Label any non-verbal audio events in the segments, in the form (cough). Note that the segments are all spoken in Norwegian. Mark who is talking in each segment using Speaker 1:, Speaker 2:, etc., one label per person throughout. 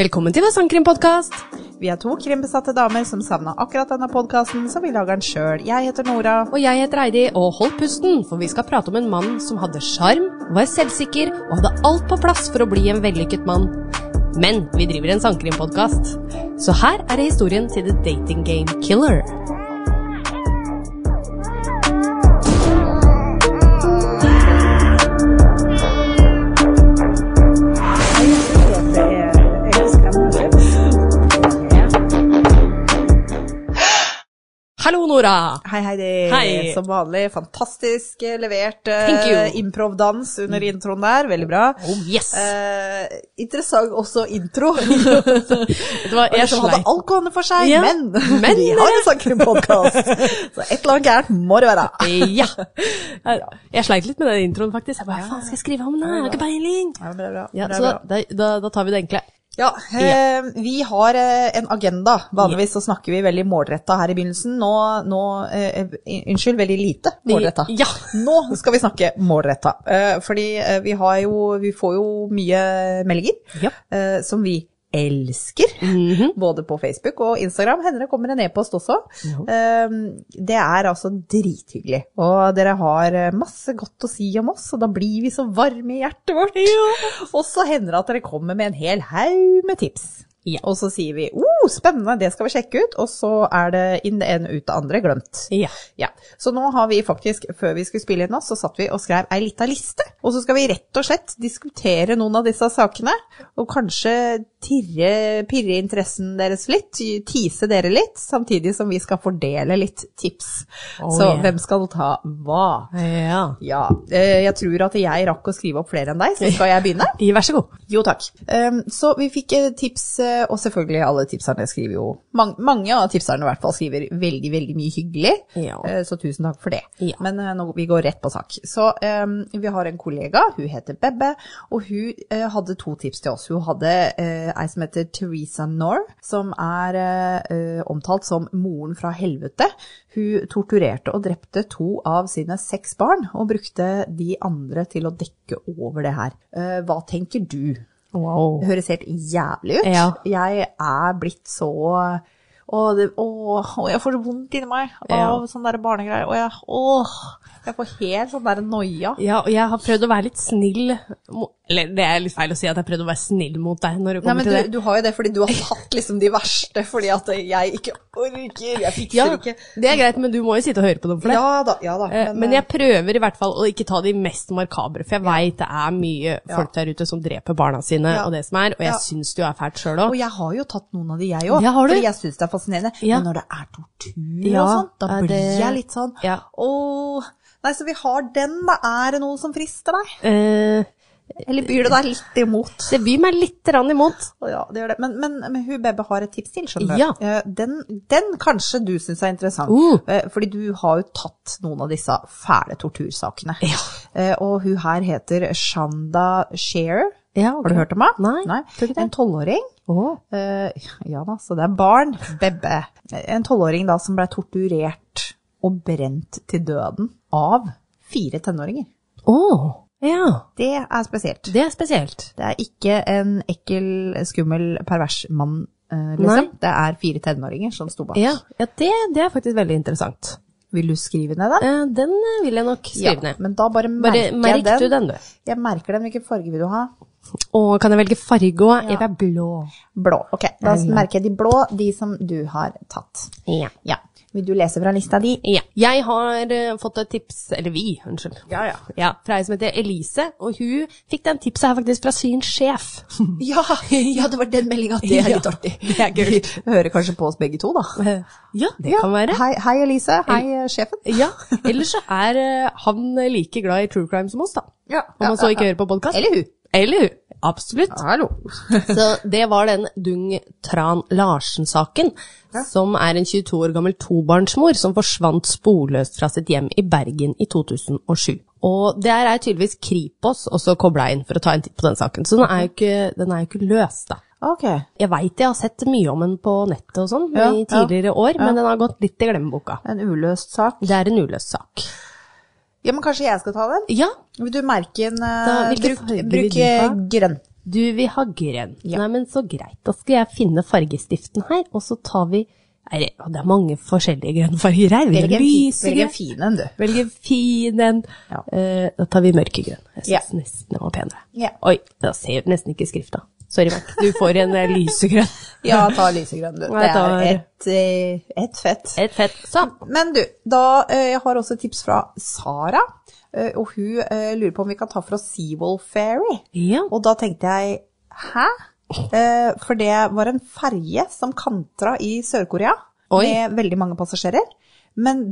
Speaker 1: Velkommen til vår sangkrimpodkast.
Speaker 2: Vi er to krimbesatte damer som savna akkurat denne podkasten, så vi lager den sjøl. Jeg heter Nora.
Speaker 1: Og jeg heter Eidi, og hold pusten, for vi skal prate om en mann som hadde sjarm, var selvsikker og hadde alt på plass for å bli en vellykket mann. Men vi driver en sangkrimpodkast, så her er det historien til The Dating Game Killer. Hallo, Nora.
Speaker 2: Hei, Heidi.
Speaker 1: Hei.
Speaker 2: Som vanlig fantastisk eh, levert
Speaker 1: Thank
Speaker 2: uh,
Speaker 1: you. Mm.
Speaker 2: improvdans under introen der. Veldig bra.
Speaker 1: Oh, yes.
Speaker 2: Eh, interessant også intro.
Speaker 1: (laughs) Det var,
Speaker 2: Jeg
Speaker 1: jeg
Speaker 2: som hadde
Speaker 1: sleit.
Speaker 2: alt gående for seg,
Speaker 1: Ja.
Speaker 2: men, (laughs)
Speaker 1: Men, eh,
Speaker 2: vi har
Speaker 1: (laughs)
Speaker 2: en sangkrimpodkast. Så et eller annet gærent må det være.
Speaker 1: Ja. Jeg sleit litt med den introen, faktisk. Jeg bare, Hva faen skal jeg skrive om nå? Jeg har ikke peiling.
Speaker 2: Ja, men det er bra.
Speaker 1: Ja,
Speaker 2: Det er
Speaker 1: så
Speaker 2: bra.
Speaker 1: da, da, da tar vi det enkle.
Speaker 2: Ja, eh, vi har eh, en agenda. Vanligvis så snakker vi veldig målretta her i begynnelsen. Nå, nå eh, eh, Unnskyld, veldig lite målretta.
Speaker 1: (laughs) Ja.
Speaker 2: Nå skal vi snakke målretta. Eh, fordi eh, vi har jo Vi får jo mye meldinger
Speaker 1: Ja.
Speaker 2: eh, som vi elsker. Både på Facebook og Instagram. Hender det kommer en e-post også. Eh, det er altså drithyggelig. Og dere har eh, masse godt å si om oss, og da blir vi så varme i hjertet vårt. Og så hender det at dere kommer med en hel haug med tips.
Speaker 1: Ja.
Speaker 2: Og så sier vi oh, spennende, det skal vi sjekke ut. Og så er det inn det ene ut det andre glemt.
Speaker 1: Ja.
Speaker 2: Ja. Så nå har vi faktisk, før vi skulle spille inn oss, så satt vi og skrev ei lita liste. Og så skal vi rett og slett diskutere noen av disse sakene, og kanskje tirre, pirre interessen deres litt, tise dere litt, samtidig som vi skal fordele litt tips.
Speaker 1: Oh,
Speaker 2: så
Speaker 1: yeah.
Speaker 2: hvem skal ta hva?
Speaker 1: Ja.
Speaker 2: Ja, eh, jeg tror at jeg rakk å skrive opp flere enn deg, så skal jeg begynne.
Speaker 1: Vær så god.
Speaker 2: Jo, takk. Ehm, så vi fikk eh, tips, eh, og selvfølgelig alle tipserne skriver jo Mange, mange av tipserne i hvert fall skriver veldig, veldig mye hyggelig,
Speaker 1: Ja.
Speaker 2: eh, så tusen takk for det.
Speaker 1: Ja.
Speaker 2: Men eh, nå, vi går rett på sak. Så ehm, vi har en kollega, hun heter Bebbe, og hun eh, hadde to tips til oss. Hun hadde eh, ei som heter Teresa Knorr, som er eh, eh, omtalt som moren fra helvete. Hun torturerte og drepte to av sine seks barn, og brukte de andre til å dekke over det her. Eh, hva tenker du?
Speaker 1: Wow.
Speaker 2: Det høres helt jævlig ut.
Speaker 1: Ja.
Speaker 2: Jeg er blitt så å, det, å, å, jeg får så vondt inni meg av
Speaker 1: Ja.
Speaker 2: sånne der barnegreier. Å, jeg, å, jeg får helt sånn der noia.
Speaker 1: Ja, og jeg har prøvd å være litt snill mo- Eller det er litt feil å si at jeg har prøvd å være snill mot deg når det
Speaker 2: Nei,
Speaker 1: kommer
Speaker 2: men du,
Speaker 1: til det.
Speaker 2: du har jo det fordi du har tatt liksom de verste, fordi at jeg ikke orker, jeg fikser
Speaker 1: Ja,
Speaker 2: ikke.
Speaker 1: det er greit, men du må jo sitte og høre på dem for det.
Speaker 2: Ja da, ja da.
Speaker 1: Eh, Men jeg prøver i hvert fall å ikke ta de mest makabre, for jeg veit det er mye folk der ute som dreper barna sine
Speaker 2: Ja.
Speaker 1: og det som er, og jeg
Speaker 2: Ja.
Speaker 1: syns det jo er fælt sjøl
Speaker 2: eh, Og
Speaker 1: òg.
Speaker 2: jeg har jo tatt noen av de, jeg òg.
Speaker 1: Ja, har du?
Speaker 2: fordi jeg syns det er fascinerende.
Speaker 1: Ja.
Speaker 2: Men når det er tortur
Speaker 1: Ja,
Speaker 2: og sånn, da
Speaker 1: er
Speaker 2: blir
Speaker 1: det-
Speaker 2: jeg litt sånn
Speaker 1: Ja.
Speaker 2: Åh, Nei, så vi har den, da. Er det noe som frister deg? Eller byr det deg litt imot?
Speaker 1: Eh, Det byr meg litt rann imot.
Speaker 2: Å Ja, det gjør det. Men, men, men hun Bebbe har et tips til, skjønner du.
Speaker 1: Ja.
Speaker 2: Eh, Den, den kanskje du syns er interessant.
Speaker 1: Uh.
Speaker 2: Eh, Fordi du har jo tatt noen av disse fæle tortursakene.
Speaker 1: Ja.
Speaker 2: Eh, Og hun her heter Shanda Shearer.
Speaker 1: Ja,
Speaker 2: Har du hørt om henne?
Speaker 1: Nei, tror ikke det.
Speaker 2: En tolvåring.
Speaker 1: Åh.
Speaker 2: Eh, ja da, så det er barn. Bebbe. En tolvåring da som ble torturert og brent til døden av fire tenåringer.
Speaker 1: Åh. Ja.
Speaker 2: Det er spesielt.
Speaker 1: Det er spesielt.
Speaker 2: Det er ikke en ekkel, skummel, pervers mann, eh, liksom. Det er fire tenåringer som sto bak.
Speaker 1: Ja, ja det, det er faktisk veldig interessant.
Speaker 2: Vil du skrive ned den?
Speaker 1: Eh, Den eh, vil jeg nok skrive ned.
Speaker 2: Men da bare merker
Speaker 1: Bare merk
Speaker 2: jeg
Speaker 1: du
Speaker 2: den.
Speaker 1: den, du.
Speaker 2: Jeg merker den. Hvilken farge vil du ha?
Speaker 1: Å, kan jeg velge farge òg? Jeg vil ha blå.
Speaker 2: Blå. Ok, da merker jeg de blå, de som du har tatt.
Speaker 1: Ja.
Speaker 2: Ja. Vil du lese fra lista di?
Speaker 1: Ja. Jeg har eh, fått et tips, eller vi, unnskyld,
Speaker 2: Ja, ja.
Speaker 1: ja, fra ei som heter Elise, og hun fikk den tipset her faktisk fra sin sjef.
Speaker 2: (laughs) Ja, ja, det var den meldinga. Det er litt
Speaker 1: Ja,
Speaker 2: artig.
Speaker 1: (laughs) det er kult.
Speaker 2: De hører kanskje på oss begge to, da.
Speaker 1: Ja, det
Speaker 2: Ja.
Speaker 1: kan være.
Speaker 2: Hei, hei Elise. Hei, eh, sjefen.
Speaker 1: Ja, Ellers så er eh, han like glad i true crime som oss, da.
Speaker 2: Ja,
Speaker 1: Om
Speaker 2: ja,
Speaker 1: han så
Speaker 2: ja,
Speaker 1: ikke
Speaker 2: ja.
Speaker 1: hører på podkast.
Speaker 2: Eller hun.
Speaker 1: Eller hun. Absolutt.
Speaker 2: Hallo.
Speaker 1: (laughs) Så det var den Dung Tran Larsen-saken, som er en 22 år gammel tobarnsmor som forsvant sporløst fra sitt hjem i Bergen i 2007. Og der er tydeligvis Kripos også kobla inn for å ta en titt på den saken, så den er jo ikke, den er jo ikke løst, da.
Speaker 2: Ok.
Speaker 1: Jeg veit jeg har sett mye om den på nettet og sånn
Speaker 2: Ja,
Speaker 1: i
Speaker 2: ja,
Speaker 1: tidligere år, men den har gått litt i glemmeboka.
Speaker 2: En uløst sak.
Speaker 1: Det er en uløst sak.
Speaker 2: Ja, men kanskje jeg skal ta den?
Speaker 1: Ja,
Speaker 2: Vil du merke en eh,
Speaker 1: Da, hvilken
Speaker 2: Bruk,
Speaker 1: farge vil
Speaker 2: bruk
Speaker 1: du ha?
Speaker 2: eh, grønn.
Speaker 1: Du vil ha grønn.
Speaker 2: Ja.
Speaker 1: Nei, men så greit. Da skal jeg finne fargestiften her, og så tar vi er det, å, det er mange forskjellige grønnfarger her. Vi har
Speaker 2: Velg en, fi- velg
Speaker 1: lysegrønn.
Speaker 2: en fin en, du.
Speaker 1: Velg en fin en.
Speaker 2: Ja.
Speaker 1: Eh, da tar vi mørkegrønn. Jeg syns
Speaker 2: Ja.
Speaker 1: nesten den var penere.
Speaker 2: Ja.
Speaker 1: Oi, da ser du nesten ikke skrifta. Sorry, Mac. Du får en eh, lysegrønn.
Speaker 2: Ja, ta lysegrønn,
Speaker 1: (laughs)
Speaker 2: du.
Speaker 1: Nei,
Speaker 2: Det
Speaker 1: tar-
Speaker 2: er et, eh, (laughs) et fett.
Speaker 1: Et fett. Sånn.
Speaker 2: Men du, da, eh, jeg har også et tips fra Sara, eh, og hun eh, lurer på om vi kan ta fra Seawall Ferry.
Speaker 1: Ja.
Speaker 2: sånn. Og da tenkte jeg, hæ? Eh, For det var en ferge som kantra i Sør-Korea,
Speaker 1: Oi.
Speaker 2: med veldig mange passasjerer. Men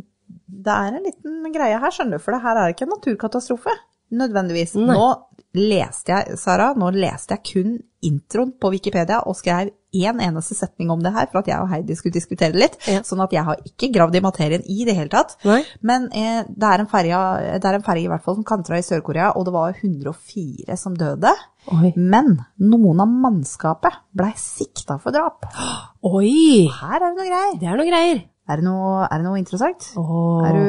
Speaker 2: det er en liten greie her, skjønner du, for det her er ikke en naturkatastrofe, nødvendigvis. Nå leste jeg, Sara, nå leste jeg kun introen på Wikipedia, og skrev en eneste setning om det her, for at jeg og Heidi skulle diskutere litt,
Speaker 1: Ja.
Speaker 2: sånn at jeg har ikke gravd i materien i det hele tatt.
Speaker 1: Nei.
Speaker 2: Men eh, det, er en ferge, det er en ferge i hvert fall som kantra i Sør-Korea, og det var 104 som døde.
Speaker 1: Oi.
Speaker 2: Men noen av mannskapet blei sikta for drap.
Speaker 1: Oi!
Speaker 2: Her er det noe greier.
Speaker 1: Det er noe greier.
Speaker 2: Er det noe, er det noe interessant?
Speaker 1: Åh.
Speaker 2: Er du,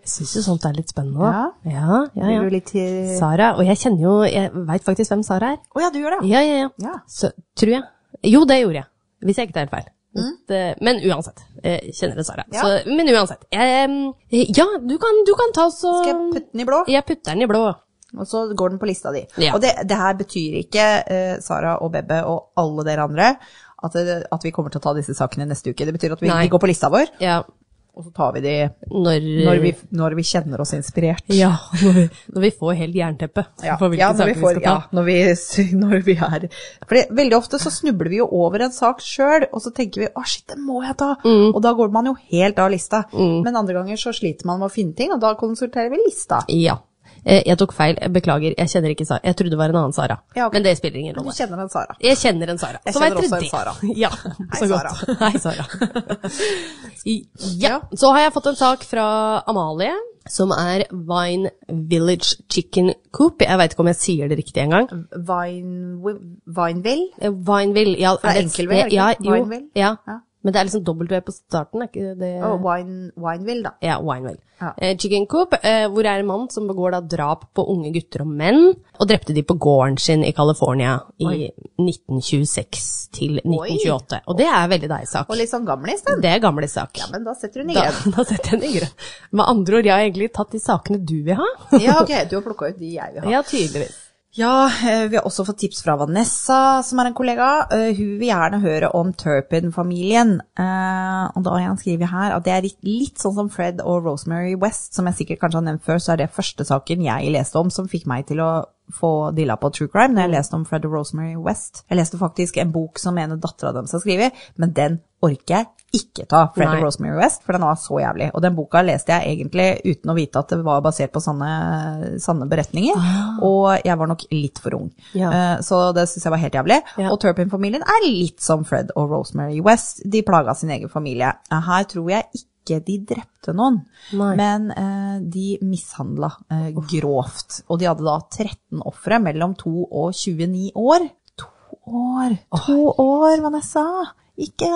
Speaker 1: Jeg syns jo sånt er litt spennende. da. Ja, ja,
Speaker 2: er
Speaker 1: ja.
Speaker 2: du litt til Å
Speaker 1: Sara, og jeg kjenner jo Jeg veit faktisk hvem Sara er.
Speaker 2: ja, du gjør det?
Speaker 1: Ja, ja, ja.
Speaker 2: Ja.
Speaker 1: Så, tror jeg. Jo, det gjorde jeg. Hvis jeg ikke tar helt feil. Det- Men uansett. Jeg kjenner det, Sara.
Speaker 2: Mm. Ja.
Speaker 1: Så, men uansett. Jeg, eh, ja, du kan, du kan ta så
Speaker 2: Skal jeg putte den i blå,
Speaker 1: Jeg putter den i blå.
Speaker 2: og så går den på lista di.
Speaker 1: Ja.
Speaker 2: Og det, det her betyr ikke, eh, Sara og Bebbe og alle dere andre, at, det- at vi kommer til å ta disse sakene neste uke. Det betyr at vi,
Speaker 1: Nei.
Speaker 2: de går på lista vår,
Speaker 1: Ja,
Speaker 2: og så tar vi de
Speaker 1: når,
Speaker 2: når vi, når vi kjenner oss inspirert.
Speaker 1: (laughs) Ja, når vi, når vi får helt jernteppe
Speaker 2: Ja,
Speaker 1: for hvilke
Speaker 2: ja, når,
Speaker 1: saker
Speaker 2: vi
Speaker 1: vi,
Speaker 2: får,
Speaker 1: skal ta.
Speaker 2: ja når, vi, (laughs) når vi er For veldig ofte så snubler vi jo over en sak sjøl, og så tenker vi 'å, shit, den må jeg ta',
Speaker 1: Mm.
Speaker 2: og da går man jo helt av lista. Men andre ganger så sliter man med å finne ting, og da konsulterer vi lista.
Speaker 1: Ja. Eh, Jeg tok feil, jeg beklager. Jeg kjenner ikke Sara. Jeg trodde det var en annen Sara.
Speaker 2: Ja, ok.
Speaker 1: Men det spiller ingen
Speaker 2: Du
Speaker 1: rolle.
Speaker 2: kjenner den, Sara.
Speaker 1: Jeg kjenner en Sara.
Speaker 2: Jeg
Speaker 1: Så vet
Speaker 2: kjenner
Speaker 1: dere
Speaker 2: også en
Speaker 1: det.
Speaker 2: Sara.
Speaker 1: (laughs) Ja, så
Speaker 2: Sara.
Speaker 1: godt. Hei, Sara. I-
Speaker 2: (laughs)
Speaker 1: Ja, så har jeg fått en sak fra Amalie, som er Vine Village Chicken Coop. Jeg veit ikke om jeg sier det riktig engang.
Speaker 2: Vine, Vineville?
Speaker 1: Eh, Vineville, ja.
Speaker 2: er
Speaker 1: et
Speaker 2: enkelville, er det
Speaker 1: sted- ja,
Speaker 2: ikke?
Speaker 1: jo,
Speaker 2: Vineville?
Speaker 1: ja.
Speaker 2: Ja.
Speaker 1: Men det er liksom W på starten, er ikke det
Speaker 2: Å, wine, Wineville, da.
Speaker 1: Ja, Wineville.
Speaker 2: Ja.
Speaker 1: Eh, Chicken Coop, eh, hvor er en mann som begår da drap på unge gutter og menn, og drepte de på gården sin i California i
Speaker 2: Oi.
Speaker 1: 1926 til 1928. Og det er veldig deg sak.
Speaker 2: Og litt sånn gammel i sted.
Speaker 1: Det er gamle sak.
Speaker 2: Ja, men da setter hun i
Speaker 1: Mm. da, (laughs)
Speaker 2: grønn.
Speaker 1: da setter jeg den i grønn. Med andre ord, jeg har egentlig tatt de sakene du vil ha.
Speaker 2: (laughs) Ja, ok, du har plukka ut de jeg vil ha.
Speaker 1: Ja, tydeligvis.
Speaker 2: Ja, eh, vi har også fått tips fra Vanessa, som er en kollega. Eh, Hun vil gjerne høre om Turpin-familien. Eh, Og da har jeg skrevet her at det er litt- litt sånn som Fred og Rosemary West, som jeg sikkert kanskje har nevnt før, så er det første saken jeg leste om som fikk meg til å få dilla på true crime, når
Speaker 1: Mm.
Speaker 2: jeg leste om Fred og Rosemary West. Jeg leste faktisk en bok som en av dattera deres har skrevet, men den orker jeg ikke ta, Fred
Speaker 1: Nei.
Speaker 2: og Rosemary West, for den var så jævlig. Og den boka leste jeg egentlig uten å vite at det var basert på sanne, sanne beretninger, og jeg var nok litt for ung.
Speaker 1: Ah. Ja.
Speaker 2: Eh, Så det syns jeg var helt jævlig.
Speaker 1: Ja.
Speaker 2: Og Turpin-familien er litt som Fred og Rosemary West. De plaga sin egen familie. Eh, Her tror jeg ikke de drepte noen,
Speaker 1: Nei.
Speaker 2: men eh, de mishandla eh, grovt. Og de hadde da 13 ofre mellom 2 og 29 år. To år! To år, Vanessa! Ikke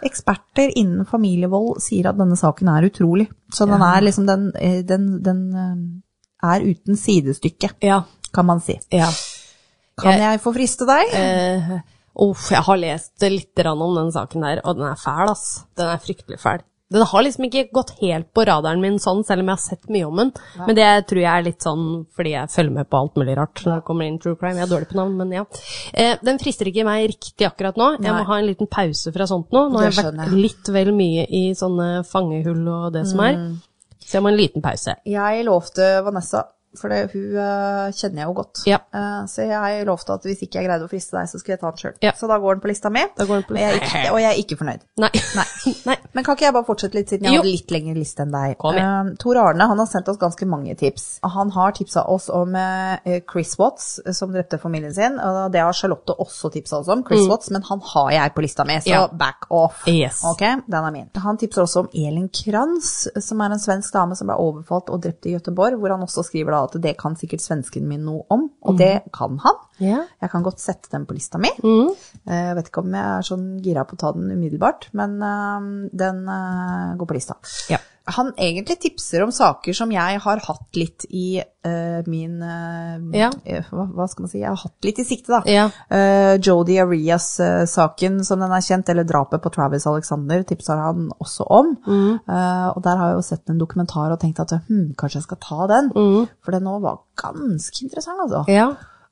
Speaker 2: Eksperter innen familievold sier at denne saken er utrolig. Så den er liksom den, eh, den, den eh, er uten sidestykke,
Speaker 1: Ja,
Speaker 2: kan man si.
Speaker 1: ja.
Speaker 2: Kan jeg få friste deg?
Speaker 1: Eh, uff, jeg har lest litt grann om den saken der, og den er fæl, ass. Den er fryktelig fæl. Den har liksom ikke gått helt på radaren min sånn, selv om jeg har sett mye om den. Men det tror jeg er litt sånn fordi jeg følger med på alt mulig rart når det kommer inn true crime. Jeg er dårlig på navn, men ja. Eh, den frister ikke meg riktig akkurat nå. Jeg
Speaker 2: Nei.
Speaker 1: må ha en liten pause fra sånt nå. Nå har
Speaker 2: Det
Speaker 1: jeg vært
Speaker 2: skjønner jeg.
Speaker 1: litt vel mye i sånne fangehull og det som er.
Speaker 2: Mm.
Speaker 1: Så jeg må ha en liten pause.
Speaker 2: Jeg lovte Vanessa, for det, hun eh, kjenner jeg jo godt.
Speaker 1: Ja.
Speaker 2: Eh, så jeg lovte at hvis ikke jeg greide å friste deg, så skulle jeg ta den sjøl.
Speaker 1: Ja.
Speaker 2: Så da går den på lista mi,
Speaker 1: Da går den på
Speaker 2: og, jeg er
Speaker 1: lista.
Speaker 2: ikke, og jeg er ikke fornøyd.
Speaker 1: Nei.
Speaker 2: Nei.
Speaker 1: (laughs) Nei.
Speaker 2: Men kan ikke jeg bare fortsette litt, siden jeg
Speaker 1: Jo.
Speaker 2: har litt lengre liste enn deg.
Speaker 1: Kom igjen.
Speaker 2: Eh, Tor Arne han har sendt oss ganske mange tips. Han har tipsa oss om eh, Chris Watts, eh, som drepte familien sin. Og det har Charlotte også tipsa oss om, Chris Watts, men han har jeg på lista mi, så
Speaker 1: Mm. Ja.
Speaker 2: back off.
Speaker 1: Yes.
Speaker 2: Ok, den er min. Han tipser også om Elin Kranz, som er en svensk dame som ble overfalt og drept i Gøteborg, hvor han også skriver da at det kan sikkert svensken min noe om, og det kan han.
Speaker 1: Mm. Ja. Mm.
Speaker 2: Jeg kan godt sette den på lista mi. Eh, Jeg vet ikke om jeg er sånn gira på å ta den umiddelbart, men eh, den eh, går på lista.
Speaker 1: Ja.
Speaker 2: han egentlig tipser om saker som jeg har hatt litt i eh, min eh,
Speaker 1: Ja.
Speaker 2: eh, hva, hva skal man si, jeg har hatt litt i sikte, da.
Speaker 1: Ja.
Speaker 2: Eh, Jodi Arias-saken som den er kjent, eller drapet på Travis Alexander, tipser han også om.
Speaker 1: Mm.
Speaker 2: Eh, og der har jeg jo sett en dokumentar og tenkt at hm, kanskje jeg skal ta den,
Speaker 1: Mm.
Speaker 2: for den nå var ganske interessant, altså.
Speaker 1: Ja.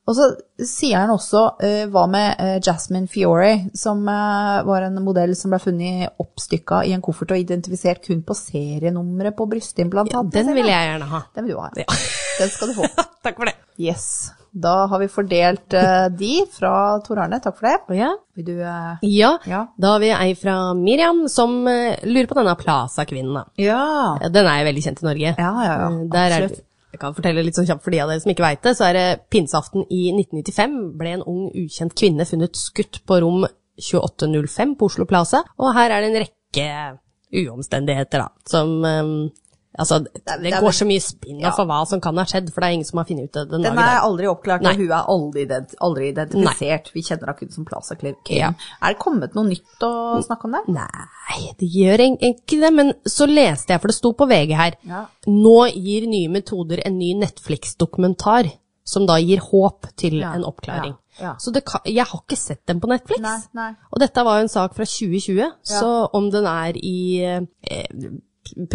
Speaker 2: Og så sier han også eh, hva med eh, Jasmine Fiore, som eh, var en modell som ble funnet oppstykka i en koffert og identifisert kun på serienummeret på brystimplantatet.
Speaker 1: Den
Speaker 2: sier
Speaker 1: vil
Speaker 2: han.
Speaker 1: jeg gjerne ha.
Speaker 2: Den vil du ha.
Speaker 1: Ja.
Speaker 2: (laughs) Den skal du få.
Speaker 1: Takk for det.
Speaker 2: Yes. Da har vi fordelt eh, de fra Tor Arne, takk for det.
Speaker 1: Ja.
Speaker 2: Vil du eh,
Speaker 1: ja.
Speaker 2: Ja.
Speaker 1: Da har vi ei fra Miriam som eh, lurer på denne Plaza-kvinnen. da.
Speaker 2: Ja.
Speaker 1: Ja, Den er jo veldig kjent i Norge.
Speaker 2: Ja, ja, ja.
Speaker 1: Eh, Der er det,
Speaker 2: Absolutt.
Speaker 1: jeg kan fortelle litt sånn kjapt for de av dere som ikke veit det, så er det pinseaften i 1995 ble en ung ukjent kvinne funnet skutt på rom 2805 på Oslo Plaza, og her er det en rekke uomstendigheter da, som eh, Altså, det,
Speaker 2: det er
Speaker 1: går
Speaker 2: vel-
Speaker 1: så mye spinn for hva som kan ha skjedd, for det er ingen som har funnet ut det den, dag i
Speaker 2: Den
Speaker 1: dag.
Speaker 2: er aldri oppklart,
Speaker 1: Nei.
Speaker 2: og hun er aldri, ident aldri identifisert. Vi kjenner henne kun som Plaza Clear King.
Speaker 1: Ja.
Speaker 2: Er det kommet noe nytt å snakke om der?
Speaker 1: Nei, det gjør egentlig ikke det, men så leste jeg, for det sto på VG her,
Speaker 2: Ja.
Speaker 1: nå gir nye metoder en ny Netflix-dokumentar, som da gir håp til
Speaker 2: Ja,
Speaker 1: en oppklaring.
Speaker 2: ja, ja.
Speaker 1: Så det kan, jeg har ikke sett den på Netflix.
Speaker 2: Nei, nei.
Speaker 1: Og dette var jo en sak fra 2020, så om den er i eh,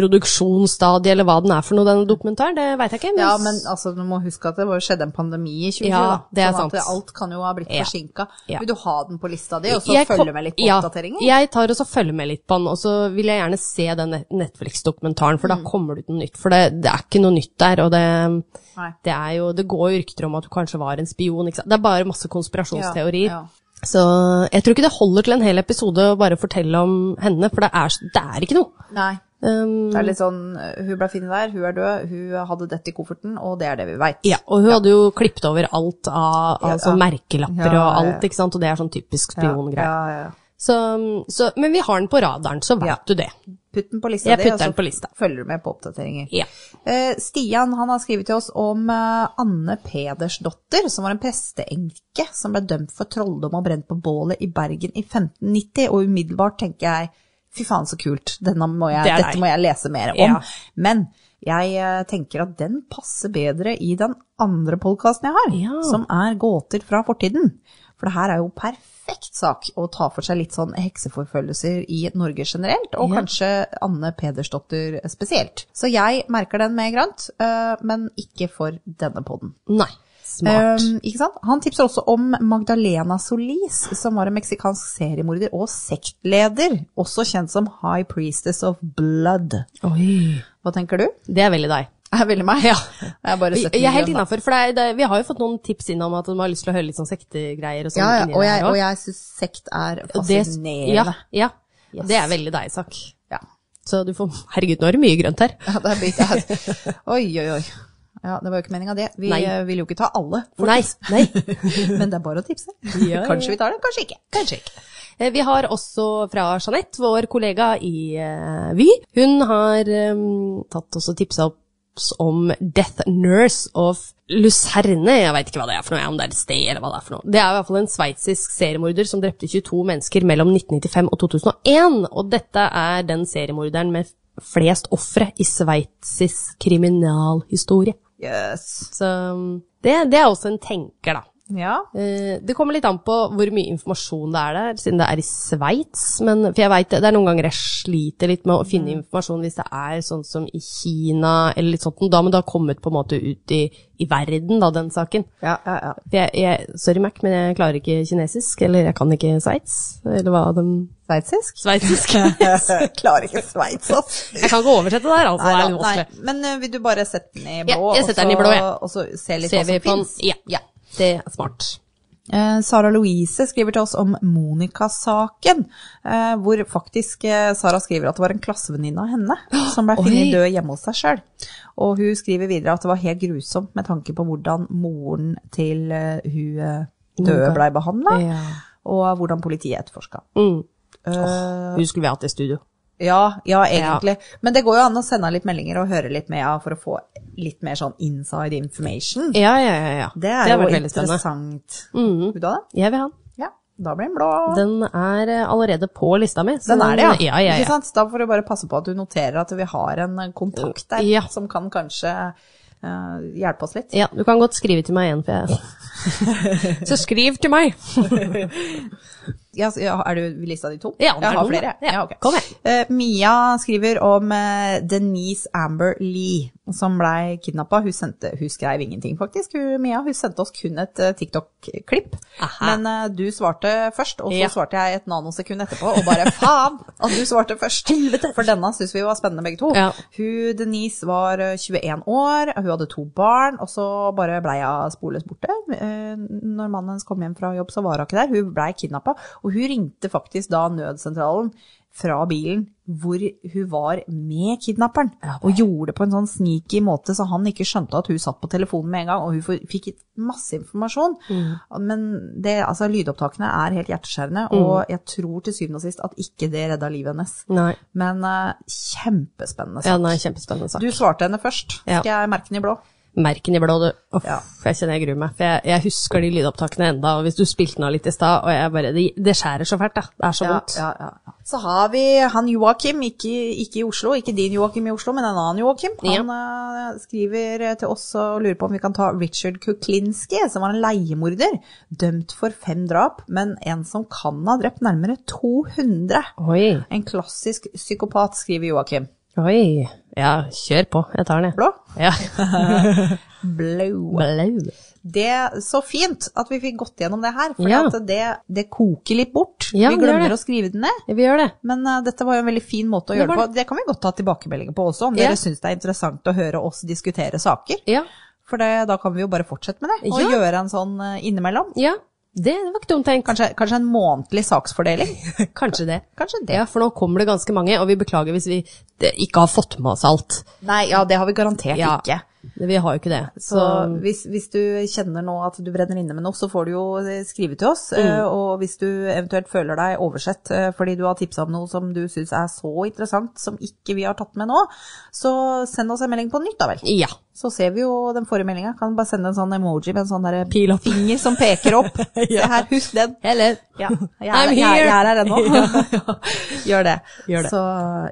Speaker 1: produksjonsstadiet, eller hva den er for noe, denne dokumentaren, det vet jeg ikke.
Speaker 2: Ja, men altså, du må huske at det var- skjedde en pandemi i 2020,
Speaker 1: Ja,
Speaker 2: da.
Speaker 1: det er
Speaker 2: sånn at
Speaker 1: sant.
Speaker 2: alt kan jo ha blitt
Speaker 1: Ja.
Speaker 2: forsinka.
Speaker 1: Ja.
Speaker 2: Vil du ha den på lista di, og så
Speaker 1: Jeg
Speaker 2: følge
Speaker 1: kom-
Speaker 2: med litt på
Speaker 1: ja,
Speaker 2: oppdateringer?
Speaker 1: Jeg tar og så følger med litt på den, og så vil jeg gjerne se den net- Netflix-dokumentaren, for da
Speaker 2: Mm.
Speaker 1: kommer det ut noe nytt. For det, det er ikke noe nytt der, og det,
Speaker 2: Nei.
Speaker 1: det, er jo, det går jo rykter om at du kanskje var en spion. Ikke sant? Det er bare masse konspirasjonsteorier.
Speaker 2: Ja, ja.
Speaker 1: Så jeg tror ikke det holder til en hel episode å bare fortelle om henne, for det er, s- det er ikke noe.
Speaker 2: Nei.
Speaker 1: Um,
Speaker 2: Det er litt sånn, eh, hun ble funnet der, hun er død, hun hadde dette i kofferten, og det er det vi veit.
Speaker 1: ja, og hun hadde jo klippet over alt av
Speaker 2: Ja,
Speaker 1: altså,
Speaker 2: ja.
Speaker 1: merkelapper
Speaker 2: Ja,
Speaker 1: og
Speaker 2: ja,
Speaker 1: alt, ikke sant? Og det er sånn typisk spiongreie.
Speaker 2: Ja, ja.
Speaker 1: Så, så, men vi har den på radaren, så vet
Speaker 2: Ja.
Speaker 1: du det.
Speaker 2: Putt den på lista
Speaker 1: Jeg
Speaker 2: di,
Speaker 1: putter
Speaker 2: og så
Speaker 1: den på lista.
Speaker 2: følger du med på oppdateringer.
Speaker 1: Ja.
Speaker 2: Eh, Stian han har skrevet til oss om eh, Anne Pedersdotter, som var en presteenke som ble dømt for trolldom og brent på bålet i Bergen i 1590. Og umiddelbart tenker jeg fy faen så kult, Denne må jeg,
Speaker 1: Det er
Speaker 2: dette
Speaker 1: deg.
Speaker 2: må jeg lese mer om.
Speaker 1: Ja.
Speaker 2: Men jeg eh, tenker at den passer bedre i den andre podkasten jeg har,
Speaker 1: Ja.
Speaker 2: som er gåter fra fortiden. For det her er jo perfekt sak å ta for seg litt sånn hekseforfølgelser i Norge generelt, og
Speaker 1: Ja.
Speaker 2: kanskje Anne Pedersdotter spesielt. Så jeg merker den med grønt, eh, men ikke for denne podden.
Speaker 1: Nei. Smart.
Speaker 2: Um, ikke sant? Han tipser også om Magdalena Solis, som var en meksikansk seriemorder og sektleder, også kjent som High Priestess of Blood.
Speaker 1: Oi.
Speaker 2: Hva tenker du?
Speaker 1: Det er veldig deg.
Speaker 2: Jeg ville meg. Ja. Jeg er bare
Speaker 1: Vi,
Speaker 2: 70
Speaker 1: jeg er helt
Speaker 2: igjen, da.
Speaker 1: innafor, for det er, det, vi har jo fått noen tips inn om at de har lyst til å høre litt sånn sektegreier og sånn.
Speaker 2: Ja, ja,
Speaker 1: inni
Speaker 2: og
Speaker 1: det
Speaker 2: jeg,
Speaker 1: her
Speaker 2: og
Speaker 1: også.
Speaker 2: jeg syns sekt er
Speaker 1: Og det- Ja,
Speaker 2: fascinerende.
Speaker 1: ja.
Speaker 2: Yes.
Speaker 1: Det er veldig deg, sak.
Speaker 2: Ja.
Speaker 1: Så du får Herregud, nå er det mye grønt her.
Speaker 2: Ja, det er blitt
Speaker 1: (laughs)
Speaker 2: Oi, oi, oi. Ja, det var jo ikke meninga det. Vi
Speaker 1: Nei.
Speaker 2: eh, vil jo ikke ta alle,
Speaker 1: (laughs)
Speaker 2: for
Speaker 1: Nei. nei.
Speaker 2: men det er bare å tipse.
Speaker 1: Ja, ja.
Speaker 2: Kanskje vi tar det, kanskje ikke.
Speaker 1: Kanskje ikke. Eh, Vi har også fra Jeanette, vår kollega i eh, Vy. Hun har eh, tatt oss og tipsa oss om Death Nurse of Lucerne. Jeg veit ikke hva det er for noe, om det er et sted eller hva det er for noe. Det er i hvert fall en sveitsisk seriemorder som drepte 22 mennesker mellom 1995 og 2001. Og dette er den seriemorderen med flest ofre i sveitsisk kriminalhistorie.
Speaker 2: Yes.
Speaker 1: Så mm, det, det er også en tenker, da.
Speaker 2: Ja.
Speaker 1: Eh, Det kommer litt an på hvor mye informasjon det er der, siden det er i Sveits. Men for jeg vet, det det er noen ganger jeg sliter litt med å finne informasjon hvis det er sånn som i Kina eller litt sånt. noe. Da må det ha kommet på en måte ut i, i verden, da, den saken.
Speaker 2: Ja, ja, ja.
Speaker 1: For jeg, jeg, sorry, Mac, men jeg klarer ikke kinesisk, eller jeg kan ikke Sveits. Eller hva den
Speaker 2: Sveitsisk?
Speaker 1: Sveitsisk.
Speaker 2: (laughs) Klarer ikke Sveits, ass.
Speaker 1: Jeg kan ikke oversette det her, altså. det er litt
Speaker 2: Nei,
Speaker 1: vanskelig.
Speaker 2: Men eh, vil du bare sette den i
Speaker 1: Ja,
Speaker 2: blå,
Speaker 1: jeg setter den i blå, jeg.
Speaker 2: og så se litt
Speaker 1: Ser
Speaker 2: hva
Speaker 1: vi
Speaker 2: som
Speaker 1: på den?
Speaker 2: fins?
Speaker 1: Ja. Det er smart.
Speaker 2: Eh, Sara Louise skriver til oss om Monica-saken, eh, hvor faktisk eh, Sara skriver at det var en klassevenninne av henne (gasps) som ble
Speaker 1: Oi.
Speaker 2: funnet død hjemme hos seg sjøl. Og hun skriver videre at det var helt grusomt med tanke på hvordan moren til eh, hun eh, døde blei behandla,
Speaker 1: Ja.
Speaker 2: og hvordan politiet etterforska.
Speaker 1: Mm.
Speaker 2: Eh,
Speaker 1: Hun skulle vi hatt i studio.
Speaker 2: ja, ja, egentlig. Men det går jo an å sende litt meldinger og høre litt med ja, for å få litt mer sånn inside information.
Speaker 1: Ja, ja, ja. ja.
Speaker 2: Det er
Speaker 1: har
Speaker 2: jo
Speaker 1: vært veldig spennende.
Speaker 2: interessant. Vil du ha det?
Speaker 1: Jeg vil ha den.
Speaker 2: Ja. Da blir den blå.
Speaker 1: Den er eh, allerede på lista mi. så
Speaker 2: Den er det,
Speaker 1: Ja, ja,
Speaker 2: Ikke
Speaker 1: ja.
Speaker 2: sant? Da får du bare passe på at du noterer at vi har en eh, kontakt der
Speaker 1: Ja.
Speaker 2: som kan kanskje eh, hjelpe oss litt.
Speaker 1: ja. Du kan godt skrive til meg igjen, for jeg
Speaker 2: (laughs)
Speaker 1: Så skriv til meg!
Speaker 2: Ja, så- ja, er du lista de to?
Speaker 1: Ja, det er
Speaker 2: jeg har
Speaker 1: noen,
Speaker 2: flere. jeg.
Speaker 1: ja.
Speaker 2: Ja, ok.
Speaker 1: Kom igjen.
Speaker 2: Eh, Mia skriver om eh, Denise Amber Lee, som blei kidnappa. Hun, sendte- hun skrev ingenting, faktisk. Hun, Mia, hun sendte oss kun et eh, TikTok-klipp.
Speaker 1: Aha.
Speaker 2: Men eh, du svarte først, og så
Speaker 1: Ja.
Speaker 2: svarte jeg et nanosekund etterpå, og bare (laughs) faen at du svarte først! For denne syns vi var spennende, begge to.
Speaker 1: Ja.
Speaker 2: Hun, Denise var eh, 21 år, hun hadde to barn, og så bare blei hun sporløst borte. Eh, Når mannen hennes kom hjem fra jobb, så var hun ikke der. Hun blei kidnappa, og hun ringte faktisk da nødsentralen fra bilen hvor hun var med kidnapperen, og gjorde det på en sånn sneaky måte, så han ikke skjønte at hun satt på telefonen med en gang, og hun får- fikk masse informasjon. Men det, altså, lydopptakene er helt hjerteskjærende, og jeg tror til syvende og sist at ikke det redda livet hennes.
Speaker 1: Nei.
Speaker 2: Men eh, kjempespennende sak.
Speaker 1: Mm. Ja, nei, kjempespennende sak.
Speaker 2: Du svarte henne først.
Speaker 1: Ja.
Speaker 2: Skal jeg merke den i blå?
Speaker 1: Merken i blå, du. Uff,
Speaker 2: Ja.
Speaker 1: Jeg kjenner jeg gruer meg. For jeg, jeg husker de lydopptakene enda, og hvis du spilte den av litt i stad, og jeg bare Det, det skjærer så fælt, da. Det er så vondt.
Speaker 2: ja, ja, ja. Så har vi han Joakim, ikke, ikke i Oslo, ikke din Joakim i Oslo, men en annen Joakim. Han eh, skriver til oss og lurer på om vi kan ta Richard Kuklinski, som var en leiemorder, dømt for fem drap, men en som kan ha drept nærmere 200.
Speaker 1: Oi.
Speaker 2: En klassisk psykopat, skriver Joakim.
Speaker 1: Oi. Ja, kjør på. Jeg tar den, jeg.
Speaker 2: Blå? (laughs)
Speaker 1: Ja.
Speaker 2: Blå.
Speaker 1: Blau.
Speaker 2: det, så fint at vi fikk gått gjennom det her, for
Speaker 1: Ja.
Speaker 2: at det, det koker litt bort.
Speaker 1: Ja, det
Speaker 2: vi
Speaker 1: gjør
Speaker 2: glemmer
Speaker 1: det.
Speaker 2: å skrive det ned.
Speaker 1: Vi gjør det.
Speaker 2: Men eh, dette var jo en veldig fin måte å
Speaker 1: Det
Speaker 2: gjøre det
Speaker 1: var
Speaker 2: på. Det kan vi godt ta tilbakemeldinger på også, om
Speaker 1: Ja.
Speaker 2: dere syns det er interessant å høre oss diskutere saker.
Speaker 1: Ja.
Speaker 2: For det, da kan vi jo bare fortsette med det, og
Speaker 1: Ja.
Speaker 2: gjøre en sånn eh, innimellom.
Speaker 1: Ja. Det var ikke dumt tenkt.
Speaker 2: Kanskje, kanskje en månedlig (laughs) saksfordeling.
Speaker 1: Kanskje det.
Speaker 2: Kanskje det.
Speaker 1: Ja, for nå kommer det ganske mange, og vi beklager hvis vi det, ikke har fått med oss alt.
Speaker 2: Nei, ja, det har vi garantert
Speaker 1: Ja.
Speaker 2: ikke.
Speaker 1: Vi har jo ikke det.
Speaker 2: Så hvis, hvis du kjenner nå at du brenner inne med noe, så får du jo skrive til oss. eh, Og hvis du eventuelt føler deg oversett eh, fordi du har tipsa om noe som du syns er så interessant som ikke vi har tatt med nå, så send oss en melding på nytt, da vel.
Speaker 1: Ja.
Speaker 2: Så ser vi jo den forrige meldinga. Kan bare sende en sånn emoji med en sånn derre
Speaker 1: Pil opp.
Speaker 2: finger som peker (laughs) opp. Se her, husk den.
Speaker 1: Eller (laughs)
Speaker 2: Ja, jeg
Speaker 1: I'm
Speaker 2: er, jeg,
Speaker 1: here.
Speaker 2: jeg er her (laughs) ennå. Gjør det.
Speaker 1: Gjør det.
Speaker 2: Så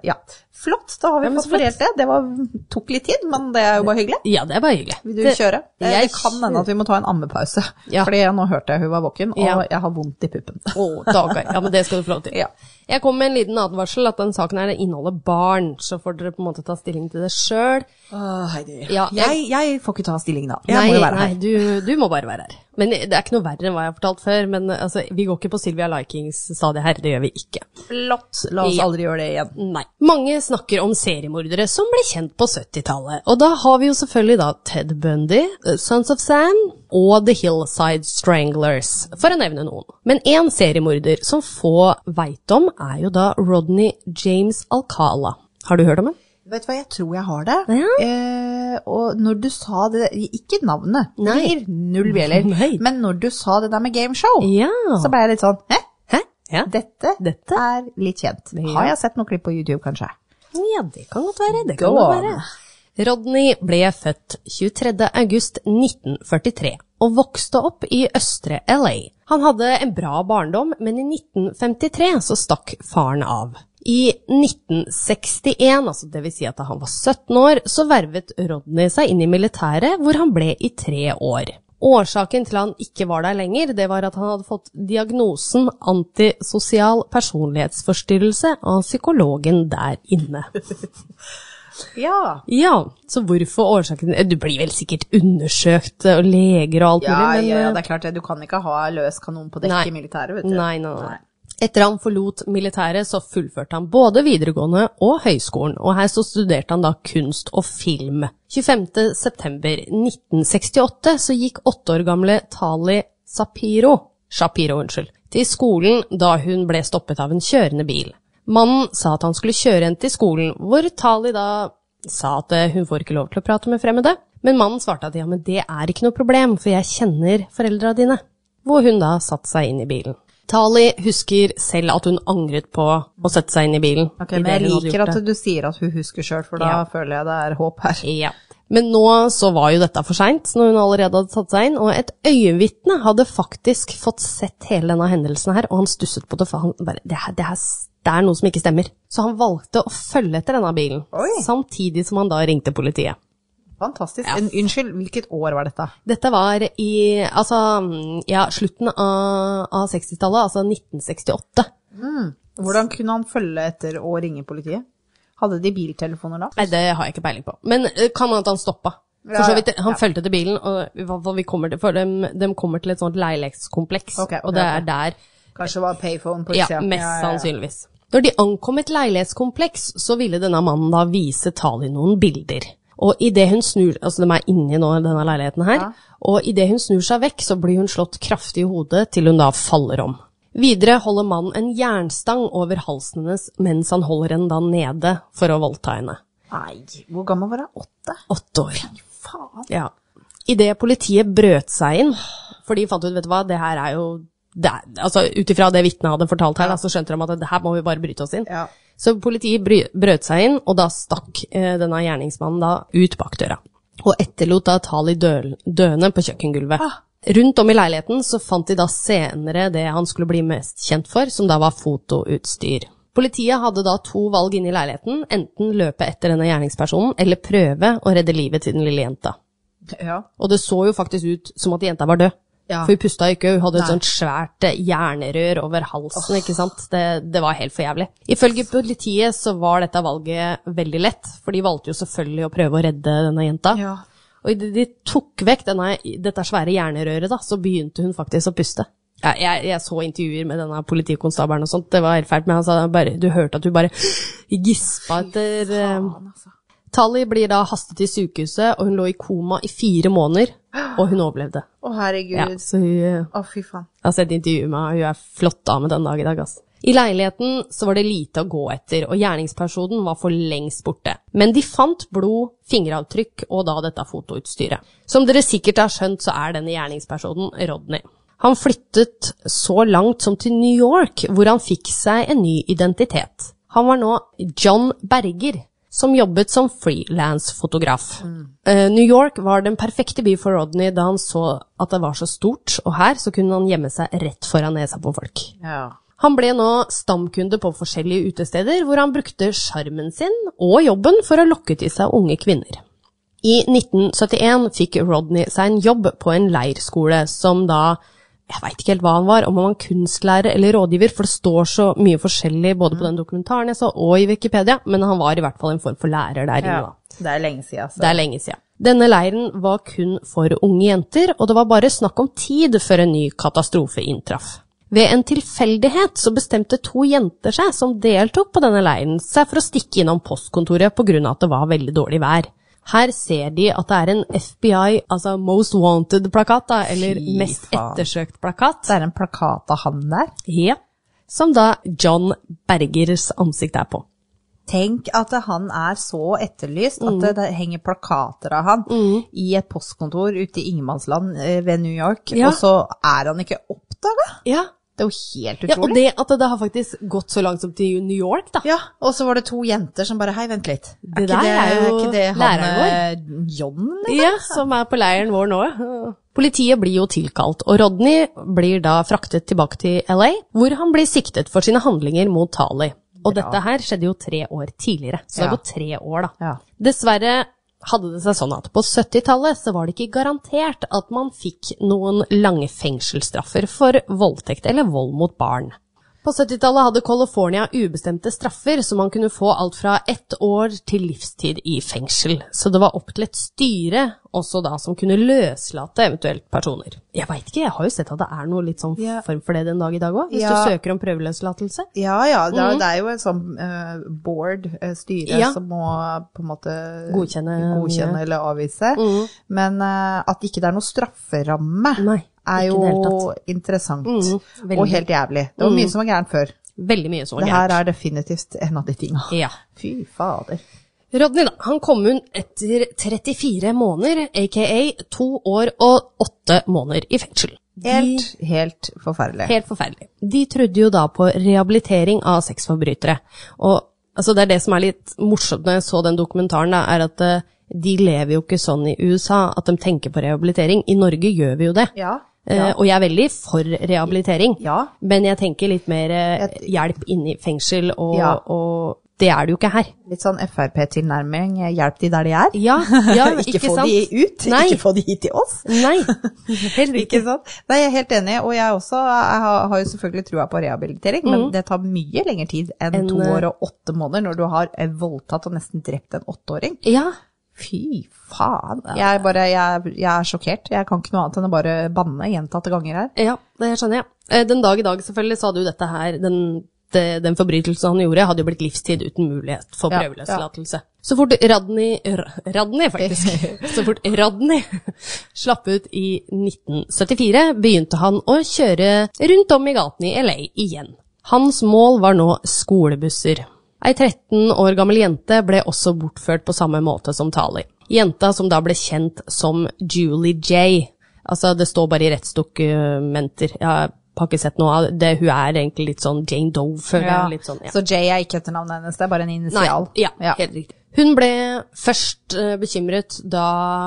Speaker 2: ja. Flott, da har vi
Speaker 1: Ja, men så
Speaker 2: fått fordelt det. Det var, tok litt tid, men det er jo bare hyggelig.
Speaker 1: (laughs) Ja, det er bare hyggelig.
Speaker 2: Vil du
Speaker 1: Det-
Speaker 2: kjøre? Eh,
Speaker 1: jeg
Speaker 2: det kan hende at vi må ta en ammepause.
Speaker 1: Ja.
Speaker 2: Fordi jeg- nå hørte jeg hun var våken, og
Speaker 1: Ja.
Speaker 2: jeg har vondt i puppen.
Speaker 1: Å, dager. Ja, men det skal du få lov til.
Speaker 2: Ja.
Speaker 1: Jeg kom med en liten advarsel at den saken her inneholder barn, så får dere på en måte ta stilling til det sjøl. Ja,
Speaker 2: jeg, jeg får ikke ta stilling da. Jeg må jo være
Speaker 1: nei,
Speaker 2: her.
Speaker 1: du, du må bare være her. Men det er ikke noe verre enn hva jeg har fortalt før, men eh, altså, vi går ikke på Sylvia Likings stadiet her, det gjør vi ikke.
Speaker 2: Flott. La oss
Speaker 1: Ja.
Speaker 2: aldri gjøre det igjen.
Speaker 1: Nei. Mange snakker om seriemordere som ble kjent på 70-tallet, og da har vi jo selvfølgelig da Ted Bundy, eh, Sons of Sam og The Hillside Stranglers, for å nevne noen. Men én seriemorder som få veit om, er jo da Rodney James Alcala. Har du hørt om ham?
Speaker 2: Vet du hva, jeg tror jeg har det.
Speaker 1: Ja.
Speaker 2: Eh, og når du sa det, ikke navnet, det
Speaker 1: Nei.
Speaker 2: gir null
Speaker 1: (laughs)
Speaker 2: bjeller,
Speaker 1: Nei.
Speaker 2: men når du sa det der med gameshow,
Speaker 1: Ja.
Speaker 2: så ble jeg litt sånn, hæ?
Speaker 1: Hæ? Ja.
Speaker 2: Dette,
Speaker 1: Dette?
Speaker 2: er litt kjent. Har jeg sett noen klipp på YouTube, kanskje?
Speaker 1: Ja, det kan godt være. Det kan
Speaker 2: Go
Speaker 1: godt
Speaker 2: on.
Speaker 1: være. Rodney ble født 23. august 1943 og vokste opp i østre LA. Han hadde en bra barndom, men i 1953 så stakk faren av. I 1961, altså det vil si at da han var 17 år, så vervet Rodney seg inn i militæret, hvor han ble i tre år. Årsaken til han ikke var der lenger, det var at han hadde fått diagnosen antisosial personlighetsforstyrrelse av psykologen der inne.
Speaker 2: Ja.
Speaker 1: Ja, så hvorfor årsaken Du blir vel sikkert undersøkt eh, og leger og alt
Speaker 2: Ja,
Speaker 1: mulig, men eh,
Speaker 2: ja, det er klart det. Du kan ikke ha løs kanon på dekk
Speaker 1: Nei.
Speaker 2: i militæret, vet du.
Speaker 1: Nei, nei, nei. Etter han forlot militæret, så fullførte han både videregående og høyskolen, og her så studerte han da kunst og film. 25. september 1968 så gikk åtte år gamle Tali Sapiro, Shapiro, unnskyld, til skolen da hun ble stoppet av en kjørende bil. Mannen sa at han skulle kjøre henne til skolen, hvor Tali da sa at eh, hun får ikke lov til å prate med fremmede. Men mannen svarte at ja, men det er ikke noe problem, for jeg kjenner foreldra dine. Hvor hun da satte seg inn i bilen. Tali husker selv at hun angret på å sette seg inn i bilen.
Speaker 2: Ok, men jeg liker at du sier at hun husker sjøl, for da
Speaker 1: Ja.
Speaker 2: føler jeg det er håp her.
Speaker 1: Ja. Men nå så var jo dette for seint, når hun allerede hadde tatt seg inn, og et øyenvitne hadde faktisk fått sett hele denne hendelsen her, og han stusset på det, for han bare det, her, det, her, det er noe som ikke stemmer. Så han valgte å følge etter denne bilen,
Speaker 2: Oi.
Speaker 1: samtidig som han da ringte politiet.
Speaker 2: Fantastisk. En, unnskyld, hvilket år var dette?
Speaker 1: Dette var i altså, ja, slutten av, av 60-tallet, altså 1968.
Speaker 2: Hvordan kunne han følge etter og ringe politiet? Hadde de biltelefoner da?
Speaker 1: Nei, det har jeg ikke peiling på. Men eh, kan hende at han stoppa.
Speaker 2: Ja,
Speaker 1: For så vidt,
Speaker 2: ja,
Speaker 1: han
Speaker 2: ja.
Speaker 1: fulgte til bilen, og i hvert fall vi kommer til, for de, kommer til et sånt leilighetskompleks,
Speaker 2: Ok, ok,
Speaker 1: og det er
Speaker 2: ok.
Speaker 1: der,
Speaker 2: Kanskje det var payphone på
Speaker 1: ja,
Speaker 2: utsida?
Speaker 1: mest sannsynligvis. Når de ankom et leilighetskompleks, så ville denne mannen da vise Tali noen bilder. Og idet hun snur Altså, de er inni nå, denne leiligheten her. Og idet hun snur seg vekk, så blir hun slått kraftig i hodet til hun da faller om. Videre holder mannen en jernstang over halsen hennes mens han holder henne da nede for å voldta henne.
Speaker 2: Nei, hvor gammel var han? Åtte?
Speaker 1: Åtte år.
Speaker 2: Faen.
Speaker 1: Ja. Idet politiet brøt seg inn, for de fant ut, vet du hva, det her er jo det er, altså Ut ifra det vitnet hadde fortalt her, da, så skjønte de at det her må vi bare bryte oss inn.
Speaker 2: Ja.
Speaker 1: Så politiet bry, brøt seg inn, og da stakk eh, denne gjerningsmannen da ut bakdøra. Og etterlot da Tali døl, døende på kjøkkengulvet. Rundt om i leiligheten så fant de da senere det han skulle bli mest kjent for, som da var fotoutstyr. Politiet hadde da to valg inne i leiligheten, enten løpe etter denne gjerningspersonen, eller prøve å redde livet til den lille jenta.
Speaker 2: ja.
Speaker 1: Og det så jo faktisk ut som at jenta var død.
Speaker 2: Ja.
Speaker 1: For hun pusta ikke, hun hadde et
Speaker 2: Nei.
Speaker 1: sånt svært eh, jernrør over halsen, ikke sant. Det, det var helt for jævlig. Ifølge politiet så var dette valget veldig lett, for de valgte jo selvfølgelig å prøve å redde denne jenta.
Speaker 2: Ja.
Speaker 1: Og idet de tok vekk denne, dette svære jernrøret, da, så begynte hun faktisk å puste. Jeg, jeg, jeg så intervjuer med denne politikonstabelen og sånt, det var helt fælt, men han sa bare, du hørte at hun bare (gasps) gispa etter eh,
Speaker 2: Faen, altså.
Speaker 1: Tally blir da hastet til sykehuset, og hun lå i koma i fire måneder, og hun overlevde.
Speaker 2: Å, herregud.
Speaker 1: Ja, så hun, eh,
Speaker 2: Å, fy faen.
Speaker 1: jeg har sett intervjuet med henne, hun er flott dame den dag i dag, ass. I leiligheten så var det lite å gå etter, og gjerningspersonen var for lengst borte. Men de fant blod, fingeravtrykk og da dette fotoutstyret. Som dere sikkert har skjønt, så er denne gjerningspersonen Rodney. Han flyttet så langt som til New York, hvor han fikk seg en ny identitet. Han var nå John Berger, som jobbet som frilansfotograf. Eh, New York var den perfekte by for Rodney da han så at det var så stort, og her så kunne han gjemme seg rett foran nesa på folk.
Speaker 2: Ja.
Speaker 1: Han ble nå stamkunde på forskjellige utesteder, hvor han brukte sjarmen sin og jobben for å lokke til seg unge kvinner. I 1971 fikk Rodney seg en jobb på en leirskole som da Jeg veit ikke helt hva han var, om han var kunstlærer eller rådgiver, for det står så mye forskjellig både på den dokumentaren jeg så og i Wikipedia, men han var i hvert fall en form for lærer der inne,
Speaker 2: ja.
Speaker 1: da.
Speaker 2: Det er lenge siden, altså.
Speaker 1: Det er lenge siden. Denne leiren var kun for unge jenter, og det var bare snakk om tid før en ny katastrofe inntraff. Ved en tilfeldighet så bestemte to jenter seg som deltok på denne leiren, seg for å stikke innom postkontoret på grunn av at det var veldig dårlig vær. Her ser de at det er en FBI, altså Most Wanted-plakat, da, eller
Speaker 2: Fy
Speaker 1: Mest
Speaker 2: faen.
Speaker 1: ettersøkt-plakat,
Speaker 2: Det er en plakat av han der.
Speaker 1: ja, som da John Bergers ansikt er på.
Speaker 2: Tenk at han er så etterlyst at
Speaker 1: Mm.
Speaker 2: det, det henger plakater av han i et postkontor ute i ingenmannsland eh, ved New York,
Speaker 1: Ja.
Speaker 2: og så er han ikke oppdaga!
Speaker 1: Ja,
Speaker 2: Det er jo helt
Speaker 1: ja og
Speaker 2: utrolig.
Speaker 1: det at det har faktisk gått så langt som til New York, da.
Speaker 2: Ja, og så var det to jenter som bare Hei, vent litt.
Speaker 1: Det der er jo
Speaker 2: ikke det han
Speaker 1: læreren
Speaker 2: eh, John, eller?
Speaker 1: Ja, som er på leiren vår nå. Politiet blir jo tilkalt, og Rodney blir da fraktet tilbake til LA, hvor han blir siktet for sine handlinger mot Tali. Og dette her skjedde jo tre år tidligere, så det
Speaker 2: Ja.
Speaker 1: har gått tre år, da.
Speaker 2: Ja.
Speaker 1: Dessverre hadde det seg sånn at på 70-tallet så var det ikke garantert at man fikk noen lange fengselsstraffer for voldtekt eller vold mot barn. På 70-tallet hadde California ubestemte straffer, så man kunne få alt fra ett år til livstid i fengsel. Så det var opp til et styre også da som kunne løslate eventuelt personer. Jeg veit ikke, jeg har jo sett at det er noe litt sånn
Speaker 2: Ja.
Speaker 1: form for det den dag i dag òg, hvis
Speaker 2: Ja.
Speaker 1: du søker om prøveløslatelse.
Speaker 2: Ja ja, det er, det er jo en sånn eh, board, eh, styre,
Speaker 1: Mhm. Ja.
Speaker 2: som må på en måte
Speaker 1: Godkjenne- Mhm.
Speaker 2: godkjenne eller avvise. Men eh, at ikke det er noe strafferamme,
Speaker 1: Nei, ikke
Speaker 2: er
Speaker 1: i det hele Mhm.
Speaker 2: jo interessant.
Speaker 1: veldig.
Speaker 2: og helt jævlig. Det var mye som var gærent før.
Speaker 1: Veldig mye som var
Speaker 2: Det
Speaker 1: gærent.
Speaker 2: her er definitivt en av de tinga.
Speaker 1: Ja.
Speaker 2: Fy fader.
Speaker 1: Rodney, da, han kom hun etter 34 måneder, aka to år og åtte måneder i fengsel.
Speaker 2: Helt, helt forferdelig.
Speaker 1: Helt forferdelig. De trodde jo da på rehabilitering av sexforbrytere. Og altså, det er det som er litt morsomt når jeg så den dokumentaren, da, er at eh, de lever jo ikke sånn i USA at de tenker på rehabilitering. I Norge gjør vi jo det.
Speaker 2: Ja,
Speaker 1: Eh, og jeg er veldig for rehabilitering,
Speaker 2: Ja.
Speaker 1: men jeg tenker litt mer eh,
Speaker 2: Jeg-
Speaker 1: hjelp inne i fengsel, og,
Speaker 2: Ja.
Speaker 1: og det er det jo ikke her.
Speaker 2: Litt sånn Frp-tilnærming, hjelp de der de er.
Speaker 1: Ja, (laughs) ja
Speaker 2: ikke,
Speaker 1: ikke,
Speaker 2: få
Speaker 1: sant?
Speaker 2: de ut,
Speaker 1: Nei,
Speaker 2: ikke få de hit til oss.
Speaker 1: (laughs) nei. Helt
Speaker 2: Ikke sant? Nei, jeg er helt enig, og jeg også jeg har, har jo selvfølgelig trua på rehabilitering, men det tar mye lengre tid enn
Speaker 1: Mhm. Enn, eh,
Speaker 2: to år og åtte måneder når du har eh, voldtatt og nesten drept en åtteåring.
Speaker 1: Ja,
Speaker 2: Fy faen. Jeg, er bare, jeg, jeg er sjokkert. Jeg kan ikke noe annet enn å bare banne gjentatte ganger her.
Speaker 1: Ja, det skjønner jeg. Eh, Den dag i dag selvfølgelig så hadde jo dette her, den, de- den forbrytelsen han gjorde, hadde jo blitt livstid uten mulighet for
Speaker 2: Ja,
Speaker 1: prøveløslatelse. Så fort Radny, Ra- Radny faktisk, så fort Radny slapp ut i 1974, begynte han å kjøre rundt om i gatene i LA igjen. Hans mål var nå skolebusser. Ei 13 år gammel jente ble også bortført på samme måte som Tali. Jenta som da ble kjent som Julie J. Altså, det står bare i rettsdokumenter. Jeg har ikke sett noe av det. Hun er egentlig litt sånn Jane Doe, føler jeg. Litt sånn, ja.
Speaker 2: Så J er ikke etternavnet hennes, det er bare en
Speaker 1: Nei,
Speaker 2: initial.
Speaker 1: ja, helt riktig. Hun ble først eh, bekymret da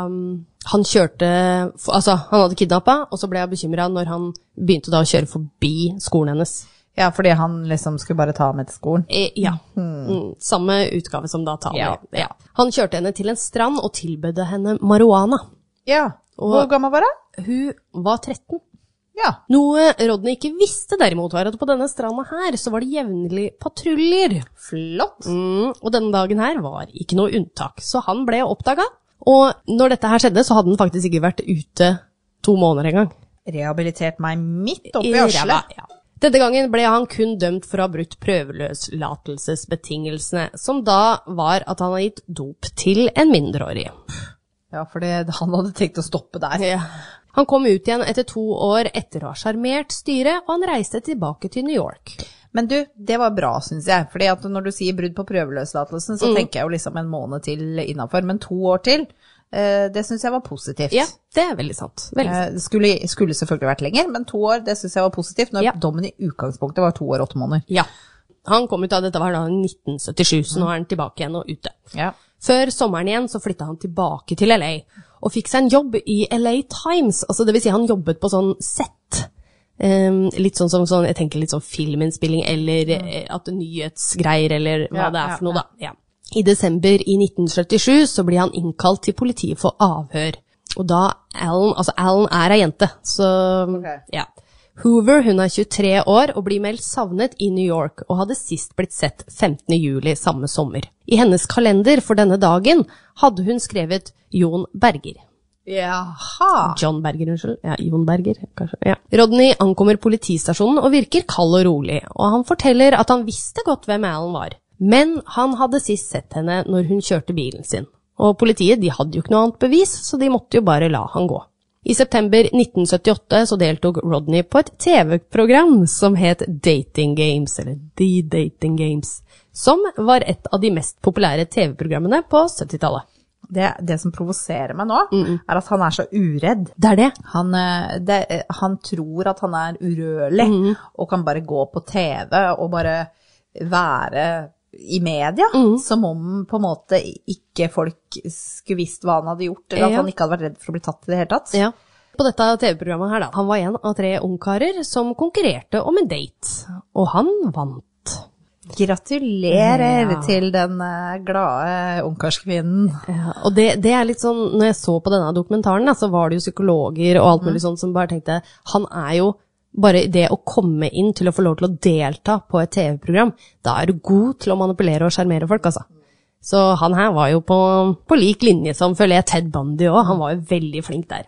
Speaker 1: mm, han kjørte f- Altså, han hadde kidnappa, og så ble jeg bekymra når han begynte da å kjøre forbi skolen hennes.
Speaker 2: ja, fordi han liksom skulle bare ta med til skolen.
Speaker 1: Eh, ja. Mm, samme utgave som da Tali.
Speaker 2: Ja.
Speaker 1: Ja. Han kjørte henne til en strand og tilbød henne marihuana.
Speaker 2: Ja. Hvor gammel var han?
Speaker 1: Hun var 13.
Speaker 2: Ja.
Speaker 1: Noe Rodney ikke visste derimot var at på denne stranda her så var det jevnlig patruljer.
Speaker 2: Flott.
Speaker 1: Mm, og denne dagen her var ikke noe unntak, så han ble oppdaga. Og når dette her skjedde, så hadde han faktisk ikke vært ute to måneder engang.
Speaker 2: Rehabilitert meg midt oppi
Speaker 1: I ræva,
Speaker 2: arslet.
Speaker 1: ja. Denne gangen ble han kun dømt for å ha brutt prøveløslatelsesbetingelsene, som da var at han har gitt dop til en mindreårig.
Speaker 2: Ja, fordi (laughs) han hadde tenkt å stoppe der.
Speaker 1: Han kom ut igjen etter to år etter å ha sjarmert styret, og han reiste tilbake til New York.
Speaker 2: Men du, det var bra, syns jeg. Fordi at når du sier brudd på prøveløslatelsen,
Speaker 1: Mm.
Speaker 2: så tenker jeg jo liksom en måned til innafor. Men to år til, eh, det syns jeg var positivt.
Speaker 1: Ja, det er veldig sant. Veldig sant.
Speaker 2: Eh, Det skulle, skulle selvfølgelig vært lenger, men to år det syns jeg var positivt. Når
Speaker 1: Ja.
Speaker 2: dommen i utgangspunktet var to år og åtte måneder.
Speaker 1: Ja. Han kom ut av dette var da 1977, så nå er han tilbake igjen og ute.
Speaker 2: Ja.
Speaker 1: Før sommeren igjen så flytta han tilbake til LA, og fikk seg en jobb i LA Times. Altså det vil si han jobbet på sånn sett. Ehm, litt sånn som sånn, jeg tenker litt sånn filminnspilling eller eh, at nyhetsgreier eller hva
Speaker 2: Mm. Ja,
Speaker 1: det er
Speaker 2: ja,
Speaker 1: for noe, da. Ja. I desember i 1977 så blir han innkalt til politiet for avhør. Og da Alan, altså Alan er ei jente, så
Speaker 2: Ok.
Speaker 1: ja. Hoover hun er 23 år og blir meldt savnet i New York, og hadde sist blitt sett 15. juli samme sommer. I hennes kalender for denne dagen hadde hun skrevet Jon Berger.
Speaker 2: Jaha.
Speaker 1: John Berger, unnskyld. Ja, Jon Berger, kanskje. Ja. Rodney ankommer politistasjonen og virker kald og rolig, og han forteller at han visste godt hvem Alan var, men han hadde sist sett henne når hun kjørte bilen sin. Og politiet de hadde jo ikke noe annet bevis, så de måtte jo bare la han gå. I september 1978 så deltok Rodney på et TV-program som het Dating Games, eller The Dating Games, som var et av de mest populære TV-programmene på 70-tallet.
Speaker 2: Det, det som provoserer meg nå, er at han er så uredd.
Speaker 1: Det er det.
Speaker 2: Han, eh, det, eh, han tror at han er urørlig,
Speaker 1: Mm.
Speaker 2: og kan bare gå på TV og bare være i media,
Speaker 1: Mm.
Speaker 2: som om på en måte ikke folk skulle visst hva han hadde gjort, eller at
Speaker 1: Ja.
Speaker 2: han ikke hadde vært redd for å bli tatt i det hele tatt.
Speaker 1: Ja. På dette TV-programmet her, da. Han var en av tre ungkarer som konkurrerte om en date. Og han vant.
Speaker 2: Gratulerer
Speaker 1: Ja.
Speaker 2: til den eh, glade ungkarskvinnen.
Speaker 1: Ja, og det, det er litt sånn, når jeg så på denne dokumentaren, da, så var det jo psykologer og alt mulig sånt som bare tenkte Han er jo bare det å komme inn til å få lov til å delta på et TV-program, da er du god til å manipulere og sjarmere folk, altså. Så han her var jo på, på lik linje som, føler jeg, Ted Bundy òg. Han var jo veldig flink der.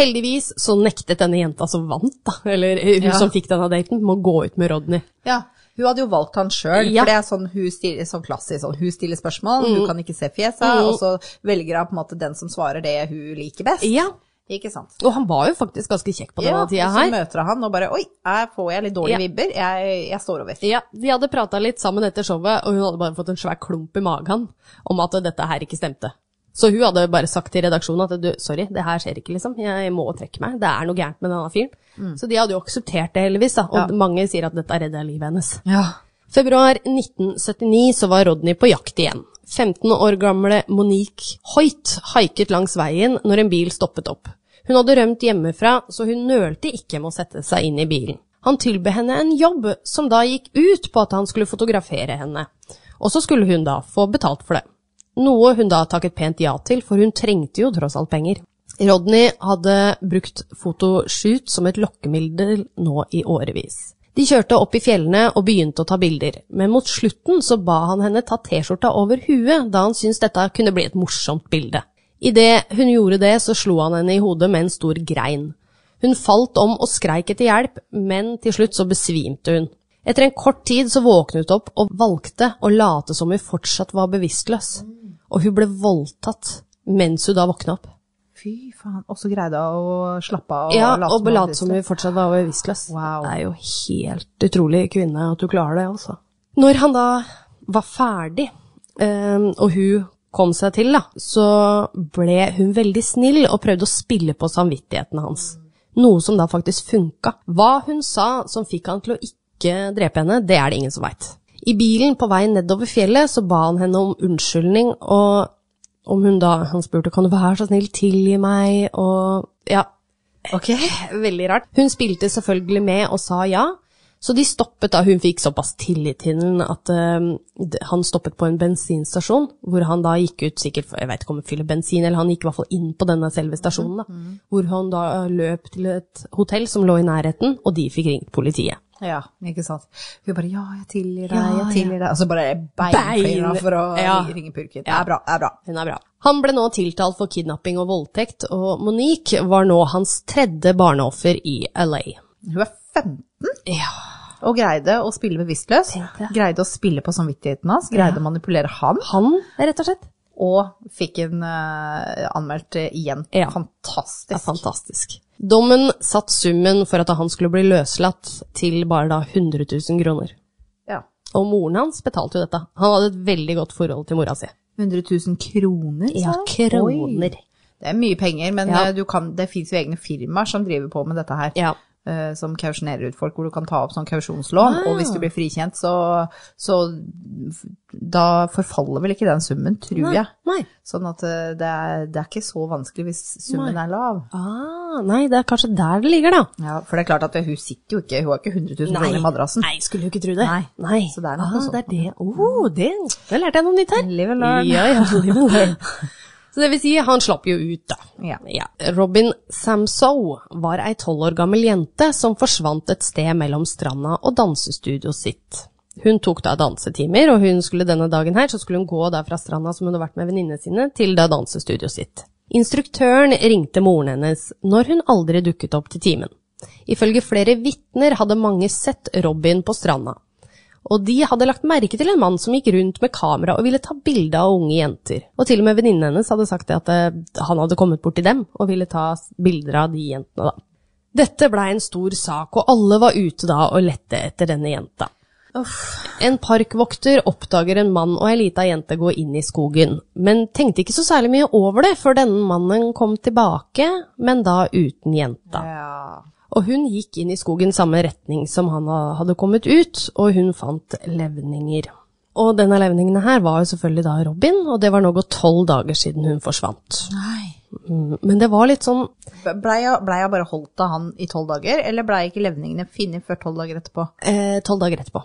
Speaker 1: Heldigvis så nektet denne jenta som vant, da, eller hun
Speaker 2: Ja.
Speaker 1: som fikk denne daten, med å gå ut med Rodney.
Speaker 2: Ja, hun hadde jo valgt han sjøl,
Speaker 1: Ja. Mm.
Speaker 2: for det er sånn, hun stiller, sånn klassisk sånn, hun stiller spørsmål, hun kan ikke se fjeset, og så velger hun på en måte den som svarer det hun liker best.
Speaker 1: Ja,
Speaker 2: Ikke sant?
Speaker 1: og han var jo faktisk ganske kjekk på denne tida
Speaker 2: og så
Speaker 1: her.
Speaker 2: møter han og bare Oi, her får jeg litt
Speaker 1: Ja.
Speaker 2: dårlige vibber. Jeg, jeg står over.
Speaker 1: Ja, de hadde prata litt sammen etter showet, og hun hadde bare fått en svær klump i magen om at dette her ikke stemte. Så hun hadde bare sagt til redaksjonen at du, sorry, det her skjer ikke, liksom. Jeg må trekke meg. Det er noe gærent med denne fyren. Så de hadde jo akseptert det, heldigvis. Da. Og
Speaker 2: Ja.
Speaker 1: mange sier at dette redda livet hennes.
Speaker 2: Ja.
Speaker 1: Februar 1979 så var Rodney på jakt igjen. 15 år gamle Monique Hoit haiket langs veien når en bil stoppet opp. Hun hadde rømt hjemmefra, så hun nølte ikke med å sette seg inn i bilen. Han tilbød henne en jobb, som da gikk ut på at han skulle fotografere henne. Og så skulle hun da få betalt for det. Noe hun da takket pent ja til, for hun trengte jo tross alt penger. Rodney hadde brukt fotoshoot som et lokkemiddel nå i årevis. De kjørte opp i fjellene og begynte å ta bilder, men mot slutten så ba han henne ta T-skjorta over huet, da han syntes dette kunne bli et morsomt bilde. Idet hun gjorde det, så slo han henne i hodet med en stor grein. Hun falt om og skreik etter hjelp, men til slutt så besvimte hun. Etter en kort tid så våknet hun opp og valgte å late som hun fortsatt var bevisstløs. Og hun ble voldtatt mens hun da våkna opp.
Speaker 2: Fy faen. Og så greide hun å slappe av.
Speaker 1: Ja, og
Speaker 2: hun
Speaker 1: belate som
Speaker 2: hadde
Speaker 1: hun fortsatt var bevisstløs.
Speaker 2: Wow.
Speaker 1: Det er jo helt utrolig kvinne at du klarer det, altså. Når han da var ferdig, eh, og hun kom seg til, da, så ble hun veldig snill og prøvde å spille på samvittigheten hans. Noe som da faktisk funka. Hva hun sa som fikk han til å ikke drepe henne, det er det ingen som veit. I bilen på vei nedover fjellet så ba han henne om unnskyldning, og om hun da Han spurte kan du være så snill, tilgi meg, og ja,
Speaker 2: lyst til-
Speaker 1: Veldig rart. Hun spilte selvfølgelig med og sa ja, så de stoppet da hun fikk såpass tillit til den at eh, d- han stoppet på en bensinstasjon, hvor han da gikk ut sikkert, for- jeg vet ikke om han fyller bensin, eller han gikk i hvert fall inn på denne selve stasjonen da, hvor han da eh, løp til et hotell som lå i nærheten, og de fikk ringt politiet.
Speaker 2: Ok. Ja, ikke sant. Hun bare 'ja, jeg tilgir deg,
Speaker 1: Ja,
Speaker 2: jeg tilgir deg'. Og så bare beinfløyene
Speaker 1: Bein.
Speaker 2: for å
Speaker 1: Ja.
Speaker 2: ringe purken. Det er bra, det er bra.
Speaker 1: Hun er bra. Han ble nå tiltalt for kidnapping og voldtekt, og Monique var nå hans tredje barneoffer i LA.
Speaker 2: Hun er 15
Speaker 1: Ja.
Speaker 2: og greide å spille bevisstløs. Greide å spille på samvittigheten hans, greide å manipulere ham.
Speaker 1: Han, rett og slett.
Speaker 2: Og fikk en eh, anmeldt eh, igjen.
Speaker 1: Ja.
Speaker 2: Fantastisk.
Speaker 1: Det er fantastisk. Dommen satt summen for at han skulle bli løslatt til bare da 100 000 kroner.
Speaker 2: Ja.
Speaker 1: Og moren hans betalte jo dette. Han hadde et veldig godt forhold til mora si.
Speaker 2: 100 000 kroner, sa
Speaker 1: Ja,
Speaker 2: han?
Speaker 1: kroner.
Speaker 2: Oi. Det er mye penger, men
Speaker 1: Ja.
Speaker 2: eh, du kan, det fins jo egne firmaer som driver på med dette her.
Speaker 1: Ja.
Speaker 2: eh, Som kausjonerer ut folk, hvor du kan ta opp sånn kausjonslån. Og
Speaker 1: Ah.
Speaker 2: hvis du blir frikjent, så, så Da forfaller vel ikke den summen, tror jeg.
Speaker 1: Nei.
Speaker 2: Sånn at eh, det er, det er ikke så vanskelig hvis summen er lav.
Speaker 1: Ah, nei, det er kanskje der det ligger, da.
Speaker 2: Ja, For det er klart at hun sitter jo ikke Hun har ikke 100 000 kroner i madrassen.
Speaker 1: nei skulle jo ikke tro det.
Speaker 2: Nei.
Speaker 1: nei.
Speaker 2: Så det er nok
Speaker 1: ah,
Speaker 2: noe sånt.
Speaker 1: det er det. Oh, det, det lærte jeg noe nytt her.
Speaker 2: Live and learn.
Speaker 1: Ja,
Speaker 2: (laughs)
Speaker 1: ja, live and learn. Så det vil si, han slapp jo ut, da.
Speaker 2: Ja.
Speaker 1: Robin Samsoe var ei tolv år gammel jente som forsvant et sted mellom stranda og dansestudioet sitt. Hun tok da dansetimer, og hun skulle denne dagen her, så skulle hun gå da fra stranda som hun hadde vært med venninnene sine, til da dansestudioet sitt. Instruktøren ringte moren hennes når hun aldri dukket opp til timen. Ifølge flere vitner hadde mange sett Robin på stranda, og de hadde lagt merke til en mann som gikk rundt med kamera og ville ta bilde av unge jenter. Og til og med venninnen hennes hadde sagt det at eh, han hadde kommet bort til dem og ville ta s- bilder av de jentene, da. Dette blei en stor sak, og alle var ute da og lette etter denne jenta. En parkvokter oppdager en mann og ei lita jente gå inn i skogen, men tenkte ikke så særlig mye over det før denne mannen kom tilbake, men da uten jenta.
Speaker 2: Ja.
Speaker 1: Og hun gikk inn i skogen samme retning som han ha- hadde kommet ut, og hun fant levninger. Og denne levningen her var jo selvfølgelig da Robin, og det var nå gått tolv dager siden hun forsvant.
Speaker 2: Nei.
Speaker 1: Mm, Men det var litt sånn
Speaker 2: Blei jeg, ble jeg bare holdt av han i tolv dager, eller blei ikke levningene funnet før tolv dager etterpå?
Speaker 1: eh, tolv dager etterpå.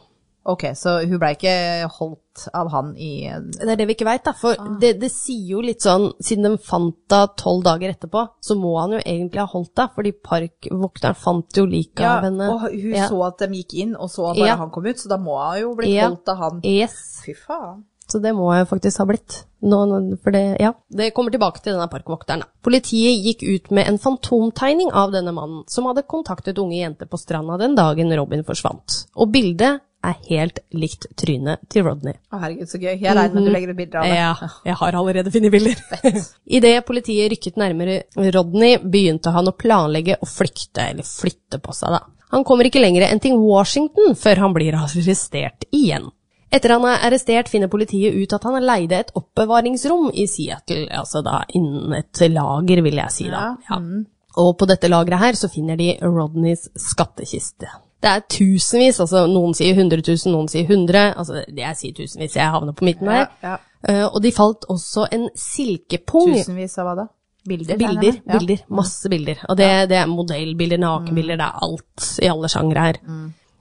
Speaker 2: Ok, så hun blei ikke holdt av han i
Speaker 1: Det er det vi ikke veit, da. For
Speaker 2: Ah.
Speaker 1: det, det sier jo litt sånn, siden de fant da tolv dager etterpå, så må han jo egentlig ha holdt da, fordi parkvokteren fant jo liket
Speaker 2: Ja,
Speaker 1: av henne.
Speaker 2: og hun
Speaker 1: Ja.
Speaker 2: så at de gikk inn, og så at bare
Speaker 1: Ja.
Speaker 2: han kom ut, så da må hun jo bli
Speaker 1: Ja.
Speaker 2: holdt av han.
Speaker 1: Yes.
Speaker 2: Fy faen.
Speaker 1: Så det må jeg faktisk ha blitt. Nå, nå- for det, ja. det kommer tilbake til denne parkvokteren. da. Politiet gikk ut med en fantomtegning av denne mannen, som hadde kontaktet unge jenter på stranda den dagen Robin forsvant. Og bildet er helt likt trynet til Rodney.
Speaker 2: Å herregud, så gøy. Jeg regner med at du legger ut bilder av
Speaker 1: Mhm.
Speaker 2: det.
Speaker 1: Ja, jeg har allerede funnet bilder. Idet politiet rykket nærmere Rodney, begynte han å planlegge å flykte, eller flytte på seg, da. Han kommer ikke lenger enn til Washington før han blir arrestert igjen. Etter han er arrestert, finner politiet ut at han leide et oppbevaringsrom i Seattle, altså da innen et lager, vil jeg si da. Ja.
Speaker 2: mm.
Speaker 1: Og på dette lageret her så finner de Rodneys skattkiste. Det er tusenvis, altså noen sier 100 000, noen sier 100, altså det jeg sier tusenvis, jeg havner på midten her.
Speaker 2: Ja, ja.
Speaker 1: Eh, og de falt også en silkepung
Speaker 2: Tusenvis av hva da? Bilder? regner jeg
Speaker 1: Bilder,
Speaker 2: med? Ja.
Speaker 1: bilder, masse bilder. Og det, det er modellbilder, nakenbilder, det er alt i alle sjangre her.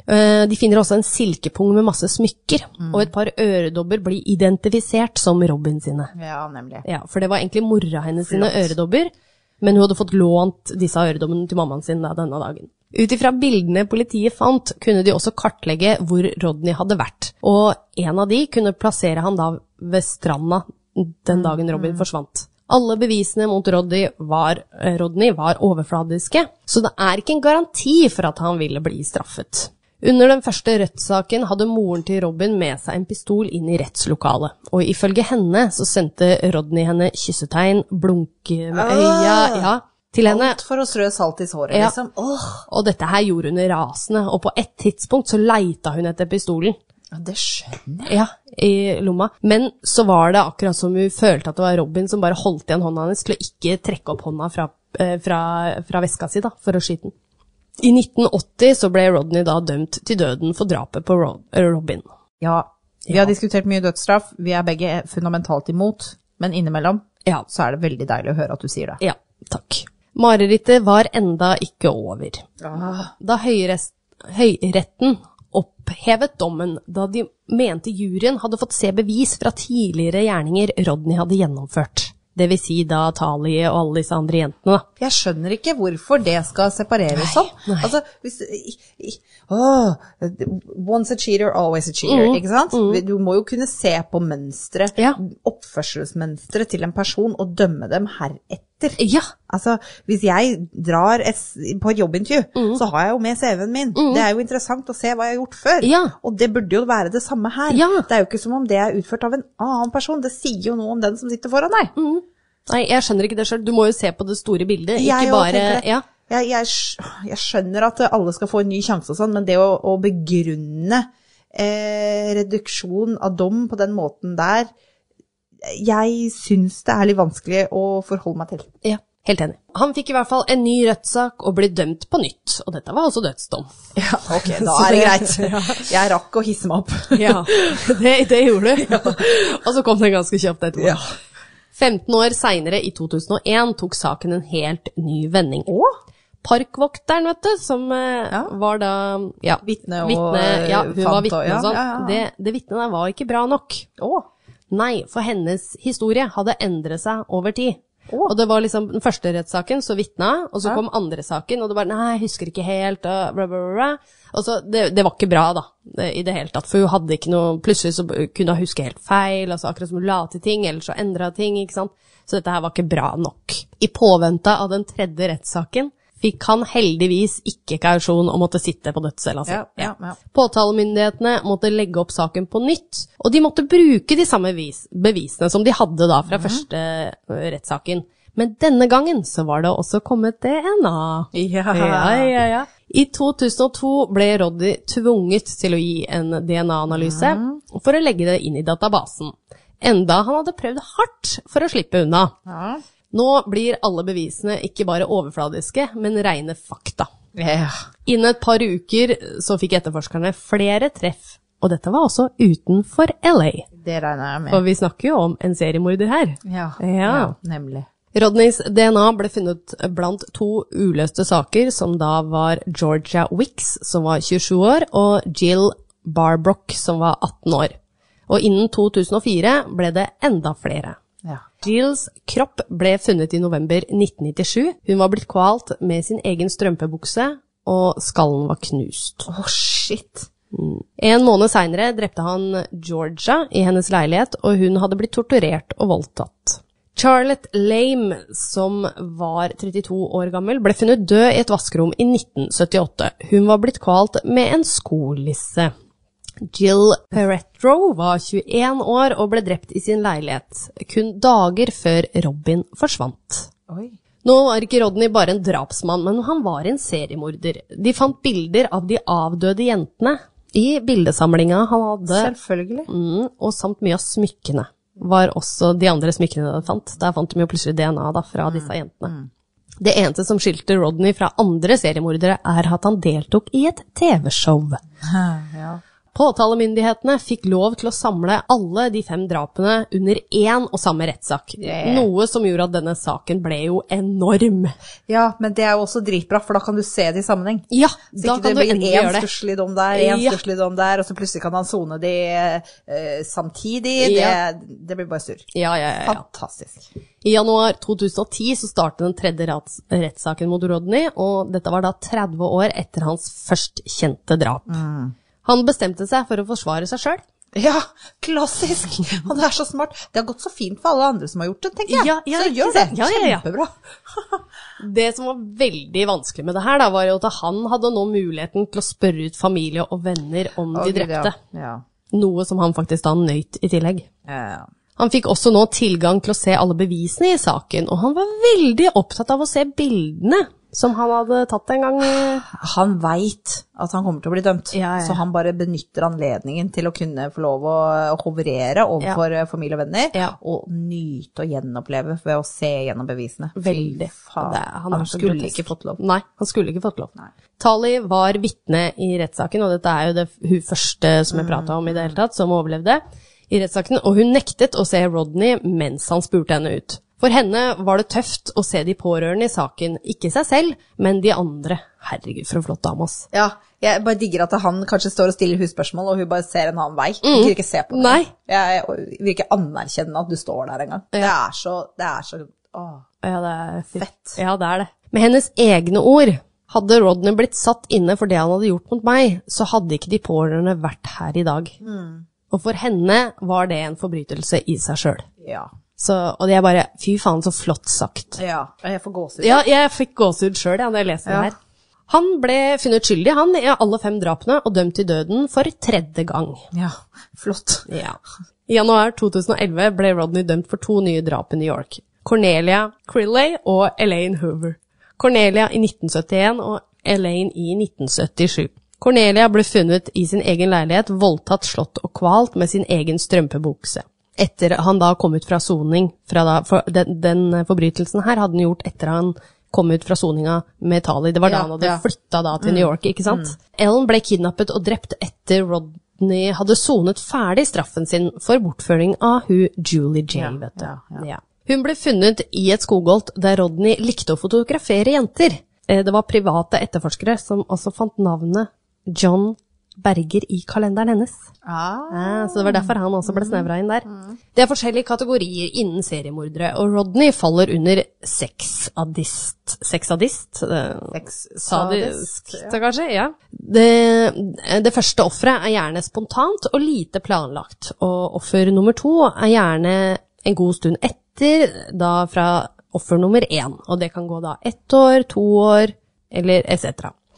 Speaker 1: Eh, De finner også en silkepung med masse smykker, og et par øredobber blir identifisert som Robin sine.
Speaker 2: Ja, nemlig.
Speaker 1: Ja, for det var egentlig mora hennes sine øredobber, men hun hadde fått lånt disse øredobbene til mammaen sin da, denne dagen. Ut ifra bildene politiet fant, kunne de også kartlegge hvor Rodney hadde vært, og en av de kunne plassere han da ved stranda den dagen Robin forsvant. Alle bevisene mot Rodney var, eh, Rodney var overfladiske, så det er ikke en garanti for at han ville bli straffet. Under den første rettssaken hadde moren til Robin med seg en pistol inn i rettslokalet, og ifølge henne så sendte Rodney henne kyssetegn, blunke med øya, ja, til henne,
Speaker 2: Ah. Alt for å strø salt i såret,
Speaker 1: Ja.
Speaker 2: liksom. Åh,
Speaker 1: og dette her gjorde hun rasende, og på et tidspunkt så leita hun etter pistolen.
Speaker 2: ja, det skjønner jeg.
Speaker 1: Ja, i lomma. Men så var det akkurat som hun følte at det var Robin som bare holdt igjen hånda hennes til å ikke trekke opp hånda fra, eh, fra, fra veska si da, for å skyte den. I 1980 så ble Rodney da dømt til døden for drapet på Ro- eh, Robin.
Speaker 2: Ja, vi har diskutert mye dødsstraff. Vi er begge fundamentalt imot, men innimellom
Speaker 1: Ja,
Speaker 2: så er det veldig deilig å høre at du sier det.
Speaker 1: ja takk. Marerittet var enda ikke over.
Speaker 2: Ah.
Speaker 1: Da høyrest, høyretten opphevet dommen, da de mente juryen hadde fått se bevis fra tidligere gjerninger Rodney hadde gjennomført. Det vil si da Thalie og alle disse andre jentene, da.
Speaker 2: Jeg skjønner ikke hvorfor det skal separeres sånn.
Speaker 1: nei.
Speaker 2: Altså, hvis i- i- åh, Once a cheater, always a cheater, ikke sant? Du må jo kunne se på mønstre,
Speaker 1: Mm, Ja.
Speaker 2: oppførselsmønstre til en person og dømme dem heretter.
Speaker 1: Ja,
Speaker 2: Altså, hvis jeg drar et, s- på et jobbintervju,
Speaker 1: Mm.
Speaker 2: så har jeg jo med CV-en min. Det er jo interessant å se hva jeg har gjort før.
Speaker 1: Ja.
Speaker 2: Og det burde jo være det samme her.
Speaker 1: Ja.
Speaker 2: Det er jo ikke som om det er utført av en annen person. Det sier jo noe om den som sitter foran deg.
Speaker 1: Nei, jeg skjønner ikke det sjøl. Du må jo se på det store bildet,
Speaker 2: Jeg
Speaker 1: ikke
Speaker 2: jo
Speaker 1: bare
Speaker 2: tenker det.
Speaker 1: ja.
Speaker 2: Jeg, jeg, skj- jeg skjønner at alle skal få en ny sjanse og sånn, men det å, å begrunne eh, reduksjon av dom på den måten der, jeg syns det er litt vanskelig å forholde meg til.
Speaker 1: ja. Helt enig. Han fikk i hvert fall en ny rettssak og ble dømt på nytt, og dette var altså dødsdom.
Speaker 2: (laughs) Ja, ok, (laughs) da er det greit. Jeg rakk å hisse meg opp.
Speaker 1: (laughs) det, det gjorde du. (laughs) Og så kom den ganske kjapt etterpå.
Speaker 2: (laughs) Ja.
Speaker 1: 15 år seinere, i 2001, tok saken en helt ny vending.
Speaker 2: Å,
Speaker 1: Parkvokteren, vet du, som eh, var da ja,
Speaker 2: Vitne og,
Speaker 1: vitne- ja, hun var
Speaker 2: fant og-
Speaker 1: vitne
Speaker 2: ja,
Speaker 1: og sånn.
Speaker 2: ja, ja.
Speaker 1: Det, det vitnet der var ikke bra nok.
Speaker 2: å.
Speaker 1: Nei, for hennes historie hadde endret seg over tid.
Speaker 2: Å.
Speaker 1: Og det var liksom den første rettssaken, så vitna, og så kom andre saken, og det bare Nei, jeg husker ikke helt, og bla, bla, bla. Og så, det, det var ikke bra, da, det- i det hele tatt. For hun hadde ikke noe Plutselig så kunne hun huske helt feil, altså akkurat som hun la til ting, eller så endra hun ting, ikke sant. Så dette her var ikke bra nok. I påvente av den tredje rettssaken fikk han heldigvis ikke kausjon og måtte sitte på dødscella si.
Speaker 2: Ja, ja, ja.
Speaker 1: Påtalemyndighetene måtte legge opp saken på nytt, og de måtte bruke de samme vis- bevisene som de hadde da fra første ø, rettssaken. Men denne gangen så var det også kommet DNA.
Speaker 2: Ja.
Speaker 1: ja, ja. I 2002 ble Roddy tvunget til å gi en DNA-analyse for å legge det inn i databasen. Enda han hadde prøvd hardt for å slippe unna.
Speaker 2: Ja.
Speaker 1: Nå blir alle bevisene ikke bare overfladiske, men reine fakta.
Speaker 2: Ja.
Speaker 1: Innen et par uker så fikk etterforskerne flere treff, og dette var også utenfor LA.
Speaker 2: Det regner jeg med.
Speaker 1: For vi snakker jo om en seriemorder her.
Speaker 2: Ja,
Speaker 1: Ja.
Speaker 2: nemlig.
Speaker 1: Rodneys DNA ble funnet blant to uløste saker, som da var Georgia Wicks, som var 27 år, og Jill Barbrock, som var 18 år. Og innen 2004 ble det enda flere.
Speaker 2: Ja.
Speaker 1: Jills kropp ble funnet i november 1997. Hun var blitt kvalt med sin egen strømpebukse, og skallen var knust. Mm.
Speaker 2: Å, shit.
Speaker 1: En måned seinere drepte han Georgia i hennes leilighet, og hun hadde blitt torturert og voldtatt. Charlotte Lame, som var 32 år gammel, ble funnet død i et vaskerom i 1978. Hun var blitt kvalt med en skolisse. Jill Peretro var 21 år og ble drept i sin leilighet, kun dager før Robin forsvant.
Speaker 2: Oi.
Speaker 1: Nå var ikke Rodney bare en drapsmann, men han var en seriemorder. De fant bilder av de avdøde jentene, i bildesamlinga han hadde,
Speaker 2: Selvfølgelig.
Speaker 1: mm, og samt mye av smykkene, var også de andre smykkene de fant. Der fant de jo plutselig DNA da, fra disse jentene. Det eneste som skilte Rodney fra andre seriemordere, er at han deltok i et TV-show.
Speaker 2: (laughs) Ja.
Speaker 1: Påtalemyndighetene fikk lov til å samle alle de fem drapene under én og samme rettssak.
Speaker 2: Yeah.
Speaker 1: Noe som gjorde at denne saken ble jo enorm.
Speaker 2: ja, men det er jo også dritbra, for da kan du se det i sammenheng.
Speaker 1: Ja,
Speaker 2: Så
Speaker 1: da
Speaker 2: ikke
Speaker 1: kan
Speaker 2: det
Speaker 1: du
Speaker 2: blir
Speaker 1: endelig
Speaker 2: én
Speaker 1: gjøre det.
Speaker 2: stusslig dom der, én
Speaker 1: Ja.
Speaker 2: stusslig dom der, og så plutselig kan han sone de eh, samtidig.
Speaker 1: Ja.
Speaker 2: Det, det blir bare surr.
Speaker 1: Ja, ja, ja, ja.
Speaker 2: Fantastisk.
Speaker 1: I januar 2010 så startet den tredje rats- rettssaken mot Rodney, og dette var da 30 år etter hans først kjente drap.
Speaker 2: Mm.
Speaker 1: Han bestemte seg for å forsvare seg sjøl.
Speaker 2: Ja,
Speaker 1: (laughs)
Speaker 2: klassisk! Han er så smart. Det har gått så fint for alle andre som har gjort det, tenker jeg.
Speaker 1: Ja, ja,
Speaker 2: så
Speaker 1: ikke
Speaker 2: gjør det.
Speaker 1: sant? Ja, ja, ja.
Speaker 2: Kjempebra.
Speaker 1: Det som var veldig vanskelig med det her, da, var jo at han hadde nå muligheten til å spørre ut familie og venner om
Speaker 2: Å,
Speaker 1: de
Speaker 2: Gud, ja.
Speaker 1: drepte.
Speaker 2: Ja.
Speaker 1: Noe som han faktisk da nøyt i tillegg.
Speaker 2: Eh,
Speaker 1: Han fikk også nå tilgang til å se alle bevisene i saken, og han var veldig opptatt av å se bildene som han hadde tatt en gang.
Speaker 2: Ah, Han veit at han kommer til å bli dømt,
Speaker 1: Ja, ja.
Speaker 2: så han bare benytter anledningen til å kunne få lov å hoverere overfor eh, familie og venner,
Speaker 1: Ja.
Speaker 2: og nyte og gjenoppleve ved å se gjennom bevisene. Fy
Speaker 1: Veldig.
Speaker 2: Faen.
Speaker 1: Det er-
Speaker 2: han
Speaker 1: er så
Speaker 2: skulle
Speaker 1: grotesk.
Speaker 2: ikke fått lov.
Speaker 1: Nei, han skulle ikke fått lov. Tali var vitne i rettssaken, og dette er jo det hun første som jeg prata om i det hele tatt, som overlevde i rettssaken, og hun nektet å se Rodney mens han spurte henne ut. For henne var det tøft å se de pårørende i saken, ikke seg selv, men de andre. Herregud, for en flott dame, ass.
Speaker 2: Ja, jeg bare digger at han kanskje står og stiller hun spørsmål, og hun bare ser en annen vei. Hun vil ikke se på det.
Speaker 1: Mm. Nei.
Speaker 2: Jeg vil ikke anerkjenne at du står der engang. Det er så, det er så åh.
Speaker 1: Ja, det er
Speaker 2: Fett.
Speaker 1: Ja, det er det. Med hennes egne ord, hadde Rodney blitt satt inne for det han hadde gjort mot meg, så hadde ikke de pårørende vært her i dag. Og for henne var det en forbrytelse i seg sjøl.
Speaker 2: Ja.
Speaker 1: Og det er bare fy faen, så flott sagt.
Speaker 2: ja. Jeg får gåsehud.
Speaker 1: Ja, jeg fikk gåsehud sjøl da jeg leste
Speaker 2: Ja.
Speaker 1: det her. Han ble funnet skyldig, han, i alle fem drapene, og dømt til døden for tredje gang.
Speaker 2: Ja, flott.
Speaker 1: Ja. I januar 2011 ble Rodney dømt for to nye drap i New York. Cornelia Crilley og Elaine Hoover. Cornelia i 1971 og Elaine i 1977. Cornelia ble funnet i sin egen leilighet, voldtatt, slått og kvalt med sin egen strømpebukse. Etter han da kom ut fra soning, fra da, for den, den forbrytelsen her hadde han gjort etter han kom ut fra soninga med Tali. Det var da
Speaker 2: Ja,
Speaker 1: han hadde
Speaker 2: ja.
Speaker 1: flyttet flytta da til New York, ikke sant? Ellen ble kidnappet og drept etter Rodney hadde sonet ferdig straffen sin for bortføring av hun Julie J, vet du. Ja. Hun ble funnet i et skogholt der Rodney likte å fotografere jenter. Eh, Det var private etterforskere som også fant navnet John Berger i kalenderen hennes.
Speaker 2: Ah.
Speaker 1: Ah, så det var derfor han også ble snevra inn der. Det er forskjellige kategorier innen seriemordere, og Rodney faller under sexadist. Sexadist? eh, Sadisk,
Speaker 2: Sadisk.
Speaker 1: da kanskje? Ja. Det, det første offeret er gjerne spontant og lite planlagt, og offer nummer to er gjerne en god stund etter, da fra offer nummer én, og det kan gå da ett år, to år, eller etc.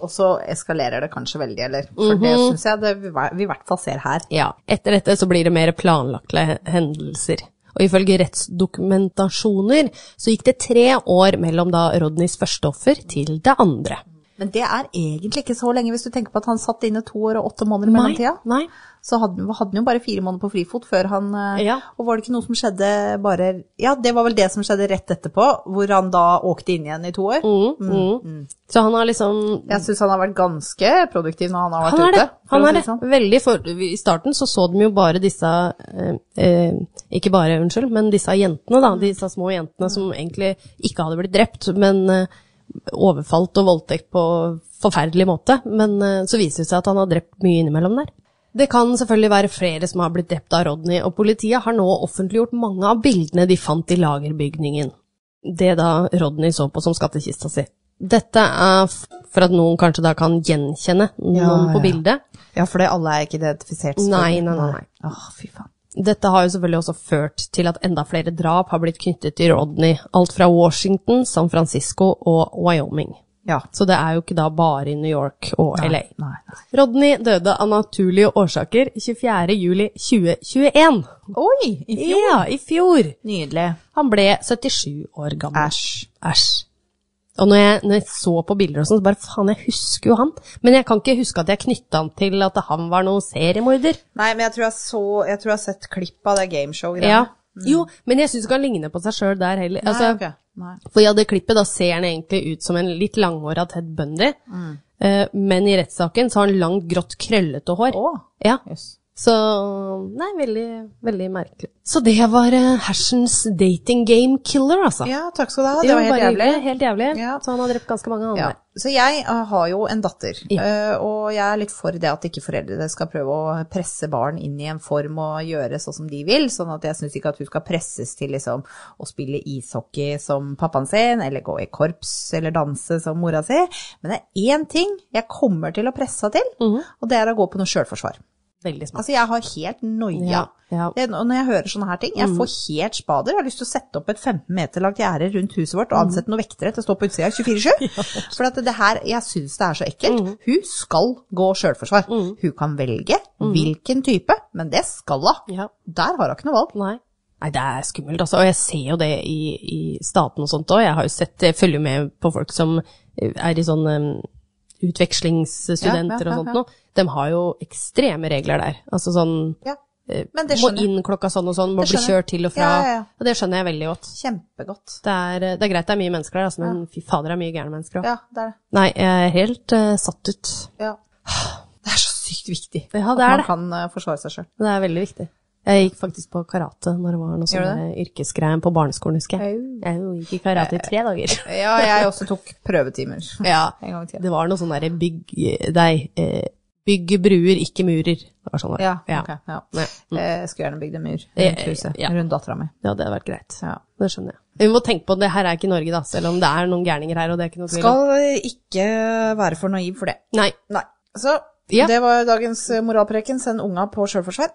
Speaker 2: Og så eskalerer det kanskje veldig, eller? For
Speaker 1: Mhm.
Speaker 2: det syns jeg det vi vi i hvert fall ser her.
Speaker 1: Ja. Etter dette så blir det mer planlagte hendelser. Og ifølge rettsdokumentasjoner så gikk det tre år mellom da Rodneys første offer til det andre.
Speaker 2: Men det er egentlig ikke så lenge, hvis du tenker på at han satt inne to år og åtte måneder i mellomtida.
Speaker 1: nei.
Speaker 2: Så hadde, hadde han jo bare fire måneder på frifot før han eh,
Speaker 1: Ja.
Speaker 2: Og var det ikke noe som skjedde bare Ja, det var vel det som skjedde rett etterpå, hvor han da åkte inn igjen i to år.
Speaker 1: Mm, mm. Så han har liksom
Speaker 2: Jeg syns han har vært ganske produktiv når han har vært
Speaker 1: Han er det.
Speaker 2: ute. for
Speaker 1: Han
Speaker 2: å
Speaker 1: er
Speaker 2: si sånn.
Speaker 1: det. Veldig for, I starten så så de jo bare disse eh, eh, Ikke bare, unnskyld, men disse jentene,
Speaker 2: Mm.
Speaker 1: da. Disse små jentene som egentlig ikke hadde blitt drept, men eh, overfalt og voldtekt på forferdelig måte. Men eh, så viser det seg at han har drept mye innimellom der. Det kan selvfølgelig være flere som har blitt drept av Rodney, og politiet har nå offentliggjort mange av bildene de fant i lagerbygningen det da Rodney så på som skattkista si. Dette er f- for at noen kanskje da kan gjenkjenne noen
Speaker 2: Ja,
Speaker 1: på
Speaker 2: ja.
Speaker 1: bildet.
Speaker 2: Ja, for det alle er ikke identifisert. selvfølgelig.
Speaker 1: Nei, nei, nei, nei.
Speaker 2: Åh, fy faen.
Speaker 1: Dette har jo selvfølgelig også ført til at enda flere drap har blitt knyttet til Rodney, alt fra Washington, San Francisco og Wyoming.
Speaker 2: Ja.
Speaker 1: Så det er jo ikke da bare i New York og LA.
Speaker 2: Nei, nei.
Speaker 1: Rodney døde av naturlige årsaker 24. juli 2021.
Speaker 2: Oi, i fjor.
Speaker 1: Ja, i fjor.
Speaker 2: Nydelig.
Speaker 1: Han ble 77 år gammel.
Speaker 2: Æsj.
Speaker 1: Æsj. Og når jeg, når jeg så på bilder og sånn, så bare faen, jeg husker jo han. Men jeg kan ikke huske at jeg knytta han til at han var noen seriemorder.
Speaker 2: Nei, men jeg tror jeg, så, jeg tror jeg har sett klipp av det gameshow-greiene.
Speaker 1: Ja. Jo, men jeg syns ikke han ligner på seg sjøl der heller.
Speaker 2: Mm. Nei,
Speaker 1: Altså,
Speaker 2: ok. Nei.
Speaker 1: For i det klippet da ser han egentlig ut som en litt langhåra Ted Bundy,
Speaker 2: Mm.
Speaker 1: Eh, men i rettssaken så har han langt, grått, krøllete hår.
Speaker 2: Å,
Speaker 1: Ja.
Speaker 2: jøss.
Speaker 1: Så Nei, veldig, veldig merkelig. Så det var eh, Hersens dating game killer, altså.
Speaker 2: Ja, takk skal du ha. Det var helt
Speaker 1: bare
Speaker 2: jævlig.
Speaker 1: hyggelig, Helt jævlig.
Speaker 2: Ja.
Speaker 1: Så han har drept ganske mange, han
Speaker 2: Ja.
Speaker 1: der.
Speaker 2: Så jeg eh, har jo en datter, eh, og jeg er litt for det at ikke foreldre skal prøve å presse barn inn i en form og gjøre sånn som de vil, sånn at jeg syns ikke at hun skal presses til liksom å spille ishockey som pappaen sin, eller gå i korps eller danse som mora si. Men det er én ting jeg kommer til å presse henne til,
Speaker 1: Mhm.
Speaker 2: og det er å gå på noe sjølforsvar.
Speaker 1: Veldig smart.
Speaker 2: Altså, jeg har helt noia.
Speaker 1: Ja, ja.
Speaker 2: Det, og når jeg hører sånne her ting, jeg får helt spader. Jeg har lyst til å sette opp et 15 meter langt gjerde rundt huset vårt og ansette noen vektere til å stå på utsida
Speaker 1: (laughs)
Speaker 2: 24-7. For at det her, jeg syns det er så ekkelt.
Speaker 1: Mm.
Speaker 2: Hun skal gå sjølforsvar. Hun kan velge hvilken type, men det skal hun.
Speaker 1: Mm. Ja.
Speaker 2: Der har hun ikke noe valg.
Speaker 1: Nei. Nei, det er skummelt, altså. Og jeg ser jo det i, i staten og sånt òg. Jeg har jo sett, jeg følger jo med på folk som eh, er i sånn eh, utvekslingsstudenter
Speaker 2: Ja, ja, ja,
Speaker 1: og sånt
Speaker 2: ja.
Speaker 1: noe. De har jo ekstreme regler der. Altså sånn
Speaker 2: Ja.
Speaker 1: eh,
Speaker 2: Men det
Speaker 1: Må
Speaker 2: skjønner jeg.
Speaker 1: inn klokka sånn og sånn, må
Speaker 2: Det
Speaker 1: bli
Speaker 2: skjønner jeg.
Speaker 1: kjørt til og fra.
Speaker 2: Ja, ja, ja.
Speaker 1: Og det skjønner jeg veldig godt.
Speaker 2: Kjempegodt.
Speaker 1: Det er, eh, det er greit det er mye mennesker der, altså, men fy fader, det er mye gærne mennesker òg.
Speaker 2: Ja, det er det.
Speaker 1: Nei, jeg er helt eh, satt ut.
Speaker 2: Ja. Det er så sykt viktig
Speaker 1: Ja,
Speaker 2: at
Speaker 1: det er
Speaker 2: man
Speaker 1: det.
Speaker 2: kan eh, forsvare seg sjøl.
Speaker 1: Det er veldig viktig. Jeg gikk faktisk på karate når det var noe
Speaker 2: Gjør du
Speaker 1: sånn yrkesgreie på barneskolen, husker jeg.
Speaker 2: Au.
Speaker 1: Jeg gikk i karate i tre dager.
Speaker 2: Ja, jeg også tok prøvetimer
Speaker 1: (laughs) Ja,
Speaker 2: en gang til.
Speaker 1: det var noe sånn derre bygg Nei, eh, bygge bruer, ikke murer. Det var sånn det var.
Speaker 2: Ja, ok. Ja.
Speaker 1: Ja.
Speaker 2: Eh, Jeg skulle gjerne bygd en mur
Speaker 1: Eh,
Speaker 2: rundt huset,
Speaker 1: ja.
Speaker 2: rundt dattera mi.
Speaker 1: Ja, det hadde vært greit.
Speaker 2: Ja.
Speaker 1: Det skjønner jeg. Vi må tenke på at det her er ikke Norge, da, selv om det er noen gærninger her, og det er ikke noe tvil om.
Speaker 2: Skal eh, ikke være for naiv for det.
Speaker 1: Nei.
Speaker 2: Nei. Så
Speaker 1: Ja.
Speaker 2: det var dagens eh, moralpreken. Send unga på (laughs) sjølforsvar.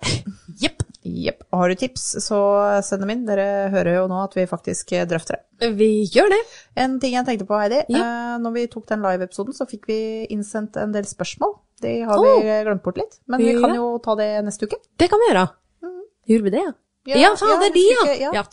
Speaker 1: Jepp.
Speaker 2: Jepp. Har du tips, så send dem inn. Dere hører jo nå at vi faktisk eh, drøfter det.
Speaker 1: Vi gjør det.
Speaker 2: En ting jeg tenkte på, Heidi. eh, Når vi tok den live-episoden, så fikk vi innsendt en del spørsmål. De har
Speaker 1: Oh.
Speaker 2: vi glemt bort litt, men vi
Speaker 1: Ja.
Speaker 2: kan jo ta det neste uke.
Speaker 1: Det kan vi gjøre. Gjorde vi det, ja?
Speaker 2: Ja,
Speaker 1: Ja, faen,
Speaker 2: ja,
Speaker 1: det er de,
Speaker 2: husker ikke,
Speaker 1: ja.
Speaker 2: ja.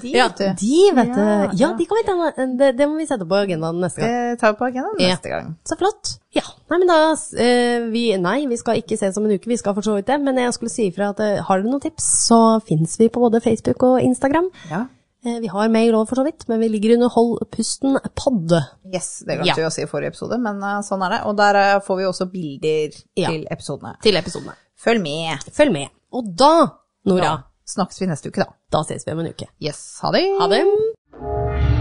Speaker 2: De,
Speaker 1: Ja,
Speaker 2: vet du.
Speaker 1: de, vet du.
Speaker 2: Ja,
Speaker 1: Ja,
Speaker 2: ja.
Speaker 1: de kan vi ta det, det må vi sette på agendaen neste gang.
Speaker 2: Eh, tar vi på agendaen
Speaker 1: Ja.
Speaker 2: neste gang.
Speaker 1: Så flott. Ja. Nei, men da eh, vi, Nei, vi skal ikke ses om en uke, vi skal for så vidt det. Men jeg skulle si ifra at eh, har dere noen tips, så fins vi på både Facebook og Instagram.
Speaker 2: Ja.
Speaker 1: Eh, Vi har mail òg, for så vidt, men vi ligger under Hold pusten podde.
Speaker 2: Yes, det glemte
Speaker 1: Ja.
Speaker 2: vi å si i forrige episode, men eh, sånn er det. Og der eh, får vi også bilder
Speaker 1: Ja.
Speaker 2: til episodene.
Speaker 1: Til episodene.
Speaker 2: Følg med!
Speaker 1: Følg med. Og da, Nora,
Speaker 2: Da snakkes vi neste uke, da.
Speaker 1: da ses vi om en uke.
Speaker 2: Yes, ha det!
Speaker 1: Ha det.